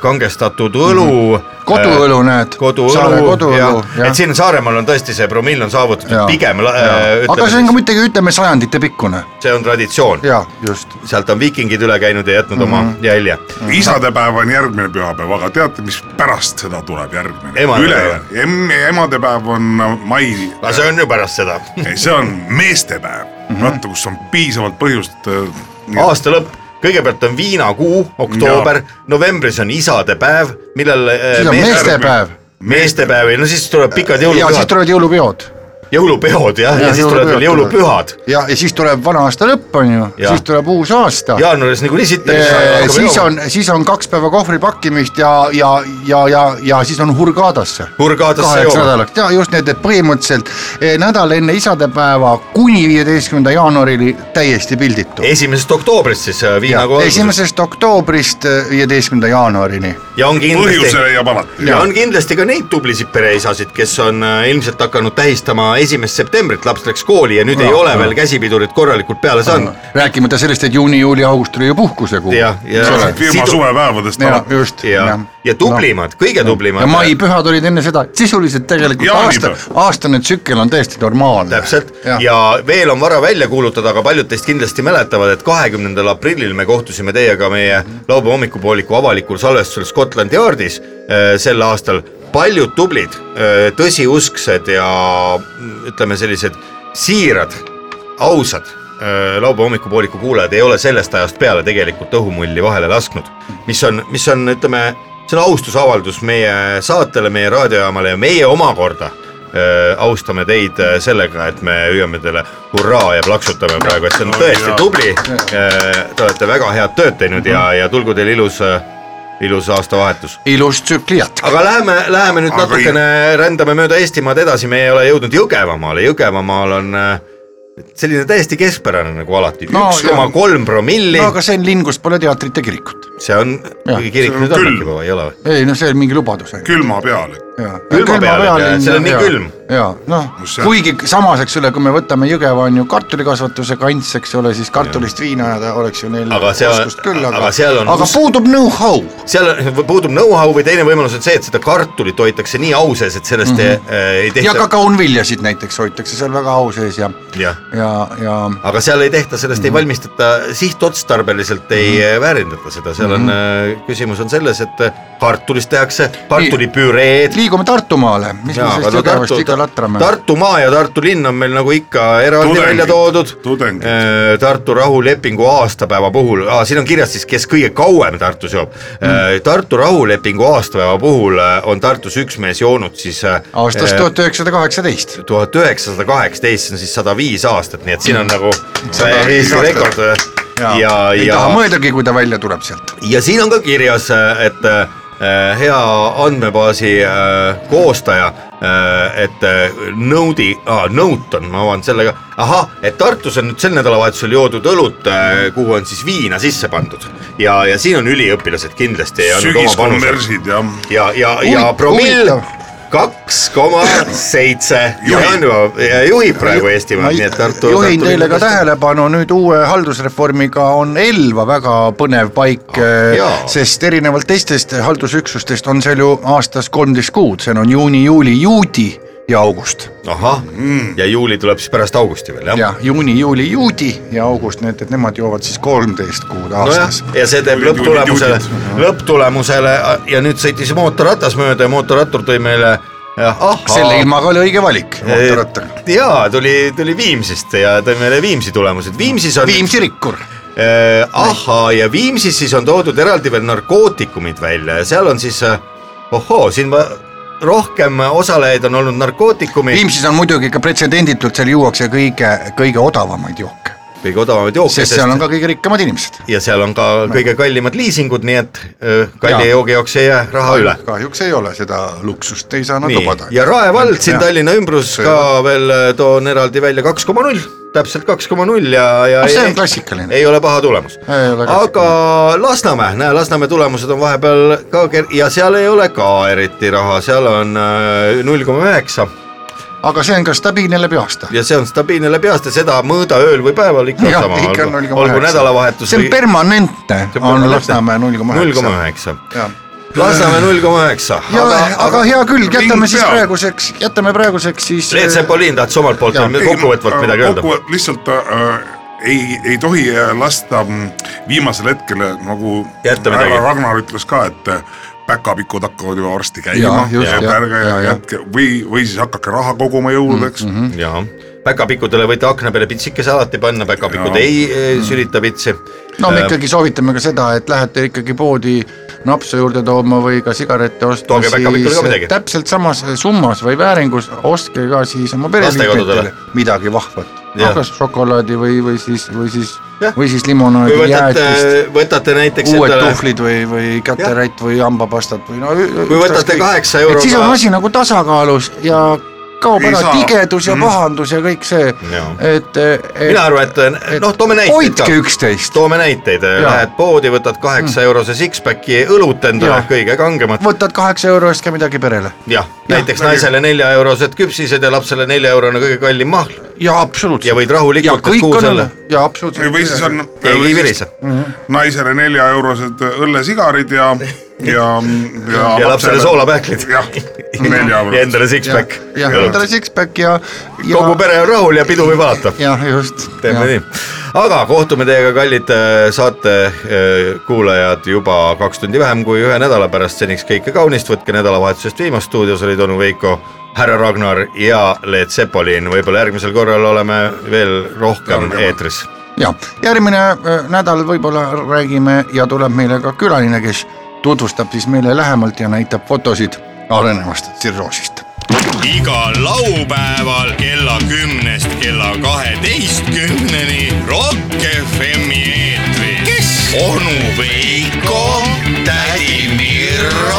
[SPEAKER 2] kangestatud õlu .
[SPEAKER 4] Mhm. koduõlu näed .
[SPEAKER 2] Äh, koduõlu ,
[SPEAKER 4] koduõlu ,
[SPEAKER 2] et siin Saaremaal on tõesti see promill on saavutatud pigem ,
[SPEAKER 4] aga see on ka
[SPEAKER 2] ütleme ,
[SPEAKER 4] muidugi , ütleme sajandite pikkune .
[SPEAKER 2] see on traditsioon ,
[SPEAKER 4] jaa , Mhm. just .
[SPEAKER 2] sealt on viikingid üle käinud ja jätnud oma jälje .
[SPEAKER 3] isadepäev on järgmine pühapäev , aga teate , mis pärast seda tuleb järgmine ?
[SPEAKER 2] Emadepäev.
[SPEAKER 3] ülejärgmine , emadepäev on äh, mai ,
[SPEAKER 2] aga see on ju pärast seda ,
[SPEAKER 3] see on meestepäev mm
[SPEAKER 2] Mhm.
[SPEAKER 3] -hmm. , vaata , kus on piisavalt põhjust . äh,
[SPEAKER 2] aasta lõpp kõigepealt on viinakuu , oktoober , novembris on isadepäev , millal äh,
[SPEAKER 4] siis on meestepäev
[SPEAKER 2] meestepäev ja no siis tuleb pikad
[SPEAKER 4] ja siis
[SPEAKER 2] jõulupühad ,
[SPEAKER 4] tulevad jõulupeod .
[SPEAKER 2] jõulupeod jah , ja siis tulevad veel jõulupühad .
[SPEAKER 4] ja , ja siis tuleb vana aasta lõpp , on ju ,
[SPEAKER 2] Jaa.
[SPEAKER 4] siis tuleb uus aasta .
[SPEAKER 2] jaanuaris nagu niikuinii sitta .
[SPEAKER 4] siis on , siis on kaks päeva kohvri pakkimist ja , ja , ja , ja , ja siis on hurgaadasse
[SPEAKER 2] Hurgaadasse
[SPEAKER 4] kaheks
[SPEAKER 2] jooma .
[SPEAKER 4] nädalaks , jaa just need , et põhimõtteliselt eh, nädal enne isadepäeva kuni viieteistkümnenda jaanuarini täiesti pilditu .
[SPEAKER 2] esimesest oktoobrist siis äh, viinakool .
[SPEAKER 4] esimesest oktoobrist eh, viieteistkümnenda jaanuarini .
[SPEAKER 2] ja on
[SPEAKER 3] põhjuse
[SPEAKER 2] kindlasti ,
[SPEAKER 3] leiab alati .
[SPEAKER 2] ja on kindlasti ka neid tublisid pereisasid , kes on äh, ilmselt hakanud tähistama esimest septembrit , laps läks kooli ja nüüd ei ole veel käsipidurit korralikult peale saanud .
[SPEAKER 4] rääkimata sellest , et juuni , juuli , august oli ju puhkusekuu .
[SPEAKER 2] ja , ja
[SPEAKER 3] firma
[SPEAKER 2] sidu-
[SPEAKER 3] suvepäevadest
[SPEAKER 4] ja
[SPEAKER 3] alati .
[SPEAKER 4] just .
[SPEAKER 2] ja , ja tublimad , kõige
[SPEAKER 4] ja
[SPEAKER 2] tublimad . äh,
[SPEAKER 4] maipühad olid enne seda , sisuliselt tegelikult
[SPEAKER 3] Jaanipäev.
[SPEAKER 4] aasta , aastane tsükkel on täiesti normaalne .
[SPEAKER 2] täpselt ja. ja veel on vara välja kuulutada , aga paljud teist kindlasti mäletavad , et kahekümnendal aprillil me kohtusime teiega meie laupäeva hommikupooliku avalikul salvestusel Scotland Yardis äh, sel aastal . paljud tublid , tõsiusksed ja mm, ütleme , sellised siirad , ausad äh, laupäeva hommikupooliku kuulajad ei ole sellest ajast peale tegelikult õhumulli vahele lasknud , mis on , mis on , ütleme , see on austusavaldus meie saatele , meie raadiojaamale ja meie omakorda äh, austame teid äh, sellega , et me hüüame teile hurraa ja plaksutame praegu , et see on tõesti tubli . Te olete väga head tööd teinud ja , ja tulgu teil ilus , ilus aastavahetus .
[SPEAKER 4] ilus tsükli jätk .
[SPEAKER 2] aga läheme , läheme nüüd
[SPEAKER 3] Aga
[SPEAKER 2] natukene , rändame mööda Eestimaad edasi , me ei ole jõudnud Jõgevamaale , Jõgevamaal on äh, selline täiesti keskpärane nagu alati ,
[SPEAKER 4] No
[SPEAKER 2] üks koma
[SPEAKER 4] jah.
[SPEAKER 2] kolm promilli
[SPEAKER 4] no , aga see on linn , kus pole teatrit ja kirikut .
[SPEAKER 2] see on ,
[SPEAKER 4] jah,
[SPEAKER 2] kuigi kirik
[SPEAKER 3] see on
[SPEAKER 2] nüüd on
[SPEAKER 3] külm.
[SPEAKER 2] äkki juba , ei ole või ?
[SPEAKER 4] ei no see on mingi lubadus .
[SPEAKER 3] külma peal .
[SPEAKER 2] Külma peal, jah, seal on nii külm. .
[SPEAKER 4] ja noh
[SPEAKER 3] Kus see- ,
[SPEAKER 4] kuigi samas , eks ole , kui me võtame Jõgeva on ju kartulikasvatuse kants , eks ole , siis kartulist viina ajada oleks ju neil
[SPEAKER 2] Aga seal-
[SPEAKER 4] oskust küll ,
[SPEAKER 2] aga
[SPEAKER 4] aga
[SPEAKER 2] seal , on-
[SPEAKER 4] aga puudub know-how .
[SPEAKER 2] seal on- puudub know-how või teine võimalus on see , et seda kartulit hoitakse nii au sees , et sellest mm -hmm. ei, ei
[SPEAKER 4] ja ka
[SPEAKER 2] tehta ,
[SPEAKER 4] kaunviljasid näiteks hoitakse seal väga au sees ja ,
[SPEAKER 2] jah
[SPEAKER 4] ja , ja
[SPEAKER 2] aga seal ei tehta , sellest mm -hmm. ei valmistata , sihtotstarbeliselt ei mm -hmm. väärindata seda , seal on mm , -hmm. küsimus on selles , et kartulist tehakse kartulipüreed .
[SPEAKER 4] liigume Tartumaale , mis me sellest Jõgevast ikka latrame .
[SPEAKER 2] Tartumaa ja Tartu linn on meil nagu ikka eraldi
[SPEAKER 3] Tudengid,
[SPEAKER 2] välja toodud .
[SPEAKER 3] tudengid.
[SPEAKER 2] Tartu rahulepingu aastapäeva puhul ah, , siin on kirjas siis , kes kõige kauem Tartus joob mm. . Tartu rahulepingu aastapäeva puhul äh, on Tartus üks mees joonud siis äh,
[SPEAKER 4] aastast
[SPEAKER 2] äh,
[SPEAKER 4] tuhat üheksasada kaheksateist .
[SPEAKER 2] tuhat üheksasada kaheksateist , see on siis sada viis aastat , nii et siin on nagu Eesti rekord ja ,
[SPEAKER 4] ei
[SPEAKER 2] ja
[SPEAKER 4] taha , mõeldagi , kui ta välja tuleb sealt .
[SPEAKER 2] ja siin on ka kirjas , et äh, äh, hea andmebaasi äh, koostaja äh, , et äh, Node'i ah, , Note on , ma avan selle ka , ahah , et Tartus on nüüd sel nädalavahetusel joodud õlut äh, , kuhu on siis viina sisse pandud ja , ja siin on üliõpilased kindlasti andnud oma panuse
[SPEAKER 3] sügiskommersid jah .
[SPEAKER 2] ja , ja , ja
[SPEAKER 9] Huvitav,
[SPEAKER 2] promill
[SPEAKER 9] huvitav.
[SPEAKER 2] kaks koma seitse
[SPEAKER 3] Juhib.
[SPEAKER 2] juhib praegu Eestimaad , nii et Tartu .
[SPEAKER 4] juhin teile ka tähelepanu , nüüd uue haldusreformiga on Elva väga põnev paik
[SPEAKER 2] Ah,
[SPEAKER 4] eh,
[SPEAKER 2] jaa. ,
[SPEAKER 4] sest erinevalt teistest haldusüksustest on seal ju aastas kolmteist kuud , seal on juuni , juuli , juudi ja august .
[SPEAKER 2] ahah ,
[SPEAKER 4] Mm.
[SPEAKER 2] ja juuli tuleb siis pärast augusti veel jah ?
[SPEAKER 4] jah , juuni , juuli , juudi ja august , nii et , et nemad joovad siis kolmteist kuud
[SPEAKER 2] nojah
[SPEAKER 4] aastas no ,
[SPEAKER 2] ja see teeb
[SPEAKER 3] Juulid, juulid,
[SPEAKER 2] lõpptulemusele
[SPEAKER 3] juulid. ,
[SPEAKER 2] lõpptulemusele ja nüüd sõitis mootorratas mööda ja mootorrattur tõi meile eh, ahhaa Eh,
[SPEAKER 4] selle ilmaga oli õige valik , mootorrattal .
[SPEAKER 2] jaa , tuli , tuli Viimsist ja tõi meile Viimsi tulemused , Viimsis on
[SPEAKER 4] Viimsi rikkur .
[SPEAKER 2] äh, ahhaa ja Viimsis siis on toodud eraldi veel narkootikumid välja ja seal on siis äh, ohoo , siin ma rohkem osalejaid on olnud narkootikumi
[SPEAKER 4] Viimsis on muidugi ka pretsedenditult , seal juuakse kõige , kõige odavamaid jooke ,
[SPEAKER 2] kõige odavamad jooked ,
[SPEAKER 4] sest seal on ka kõige rikkamad inimesed .
[SPEAKER 2] ja seal on ka kõige kallimad liisingud , nii et öö, kalli
[SPEAKER 4] Jaa.
[SPEAKER 2] joogi jaoks ei jää raha üle .
[SPEAKER 4] kahjuks ei ole seda luksust , ei saa nad
[SPEAKER 2] nii
[SPEAKER 4] lubada ,
[SPEAKER 2] ja Rae vald siin
[SPEAKER 4] Jah.
[SPEAKER 2] Tallinna ümbrus
[SPEAKER 4] See-
[SPEAKER 2] ka veel öö, toon eraldi välja kaks koma null , täpselt kaks koma null ja , ja
[SPEAKER 4] Ah, see on
[SPEAKER 2] ei-
[SPEAKER 4] klassikaline.
[SPEAKER 2] ei ole paha tulemus .
[SPEAKER 4] Ei ole
[SPEAKER 2] aga Lasnamäe , näe Lasnamäe tulemused on vahepeal ka ker- ja seal ei ole ka eriti raha , seal on äh, null koma üheksa
[SPEAKER 4] aga see on ka stabiilne läbi aasta .
[SPEAKER 2] ja see on stabiilne läbi aasta , seda mõõda ööl või päeval ikka on
[SPEAKER 4] Jah,
[SPEAKER 2] sama ,
[SPEAKER 4] ikka on
[SPEAKER 2] olgu,
[SPEAKER 4] 0,9.
[SPEAKER 2] olgu nädalavahetus
[SPEAKER 4] see on permanentne , on Lasnamäe null koma
[SPEAKER 2] null koma
[SPEAKER 4] üheksa .
[SPEAKER 2] üheksa . Lasnamäe null koma üheksa .
[SPEAKER 4] ja aga, aga hea küll , jätame
[SPEAKER 3] Ring
[SPEAKER 4] siis
[SPEAKER 3] peab.
[SPEAKER 4] praeguseks , jätame praeguseks siis . äh,
[SPEAKER 2] Leet Sepolin tahtis omalt poolt
[SPEAKER 4] Jaa.
[SPEAKER 2] veel kokkuvõtvalt midagi öelda .
[SPEAKER 3] kokku , lihtsalt äh, ei , ei tohi lasta mm, viimasel hetkel nagu
[SPEAKER 2] Jätta midagi.
[SPEAKER 3] härra Ragnar ütles ka , et äh, päkapikud hakkavad juba varsti käima
[SPEAKER 4] Jaa, , just, jah.
[SPEAKER 3] ärge
[SPEAKER 4] Jaa, jah.
[SPEAKER 3] jätke või , või siis hakake raha koguma jõuludeks mm . -hmm.
[SPEAKER 2] jaa , päkapikkudele võite akna peale pitsikese alati panna , päkapikud
[SPEAKER 3] Jaa.
[SPEAKER 2] ei eh, sülita pitsi .
[SPEAKER 4] no
[SPEAKER 2] Äh,
[SPEAKER 4] me ikkagi soovitame ka seda , et lähete ikkagi poodi napsu juurde tooma või ka sigarette ostma ,
[SPEAKER 2] Tooge päkapikule ka midagi.
[SPEAKER 4] täpselt samas summas või vääringus ostke ka siis oma
[SPEAKER 2] Lastekodudele.
[SPEAKER 4] pereliikmetele midagi vahvat .
[SPEAKER 2] Jah.
[SPEAKER 4] kas šokolaadi või , või siis , või siis
[SPEAKER 2] Jah. ,
[SPEAKER 4] või siis
[SPEAKER 2] kui
[SPEAKER 4] limonaadi ,
[SPEAKER 2] võtate äh,
[SPEAKER 4] jäätist ,,
[SPEAKER 2] võtate näiteks
[SPEAKER 4] uued
[SPEAKER 2] endale
[SPEAKER 4] tuhlid või , või käterätt või hambapastat või no .
[SPEAKER 2] Kui võtate kaheksa euroga-
[SPEAKER 4] siis on asi nagu tasakaalus ja kaob
[SPEAKER 3] Ei
[SPEAKER 4] ära
[SPEAKER 3] saa.
[SPEAKER 4] tigedus ja pahandus ja kõik see ,
[SPEAKER 2] Jaa.
[SPEAKER 4] et, et
[SPEAKER 2] Mhm. mina arvan , et noh , toome näiteid
[SPEAKER 4] hoidke . üksteist ,
[SPEAKER 2] toome näiteid , lähed poodi , võtad kaheksa eurose six-packi õlut endale
[SPEAKER 4] Jaa. ,
[SPEAKER 2] kõige kangemat ,
[SPEAKER 4] võtad kaheksa euro eest ka midagi perele
[SPEAKER 2] jah , näiteks naisele nelja eurosed küpsised ja lapsele nelja eurone kõige kallim mahl
[SPEAKER 4] ja absoluutselt .
[SPEAKER 2] ja võid rahulikult
[SPEAKER 4] kõik
[SPEAKER 2] kuu
[SPEAKER 4] on
[SPEAKER 2] selle ,
[SPEAKER 4] ja absoluutselt .
[SPEAKER 3] või siis on
[SPEAKER 2] keegi ei virise .
[SPEAKER 4] Mm.
[SPEAKER 3] naisele neljaeurosed äh, õllesigarid ja , ja , ja
[SPEAKER 2] ja lapsele . soolapähklid
[SPEAKER 3] jah , nelja
[SPEAKER 2] ja
[SPEAKER 3] eurot .
[SPEAKER 2] endale six-pack .
[SPEAKER 4] jah , endale six-pack ja , ja .
[SPEAKER 2] kogu pere on rahul ja pidu võib alata .
[SPEAKER 4] jah , just .
[SPEAKER 2] teeme ja. nii . aga kohtume teiega , kallid äh, saatekuulajad , juba kaks tundi vähem kui ühe nädala pärast , seniks kõike kaunist , võtke nädalavahetusest viimast , stuudios olid onu Veiko , härra Ragnar ja Leet Sepolin , võib-olla järgmisel korral oleme veel rohkem eetris .
[SPEAKER 4] ja järgmine äh, nädal võib-olla räägime ja tuleb meile ka külaline , kes tutvustab siis meile lähemalt ja näitab fotosid arenevast tsirroosist .
[SPEAKER 1] igal laupäeval kella kümnest kella kaheteistkümneni Rock FM-i eetris . kes ? onu Veiko , tädi Mirro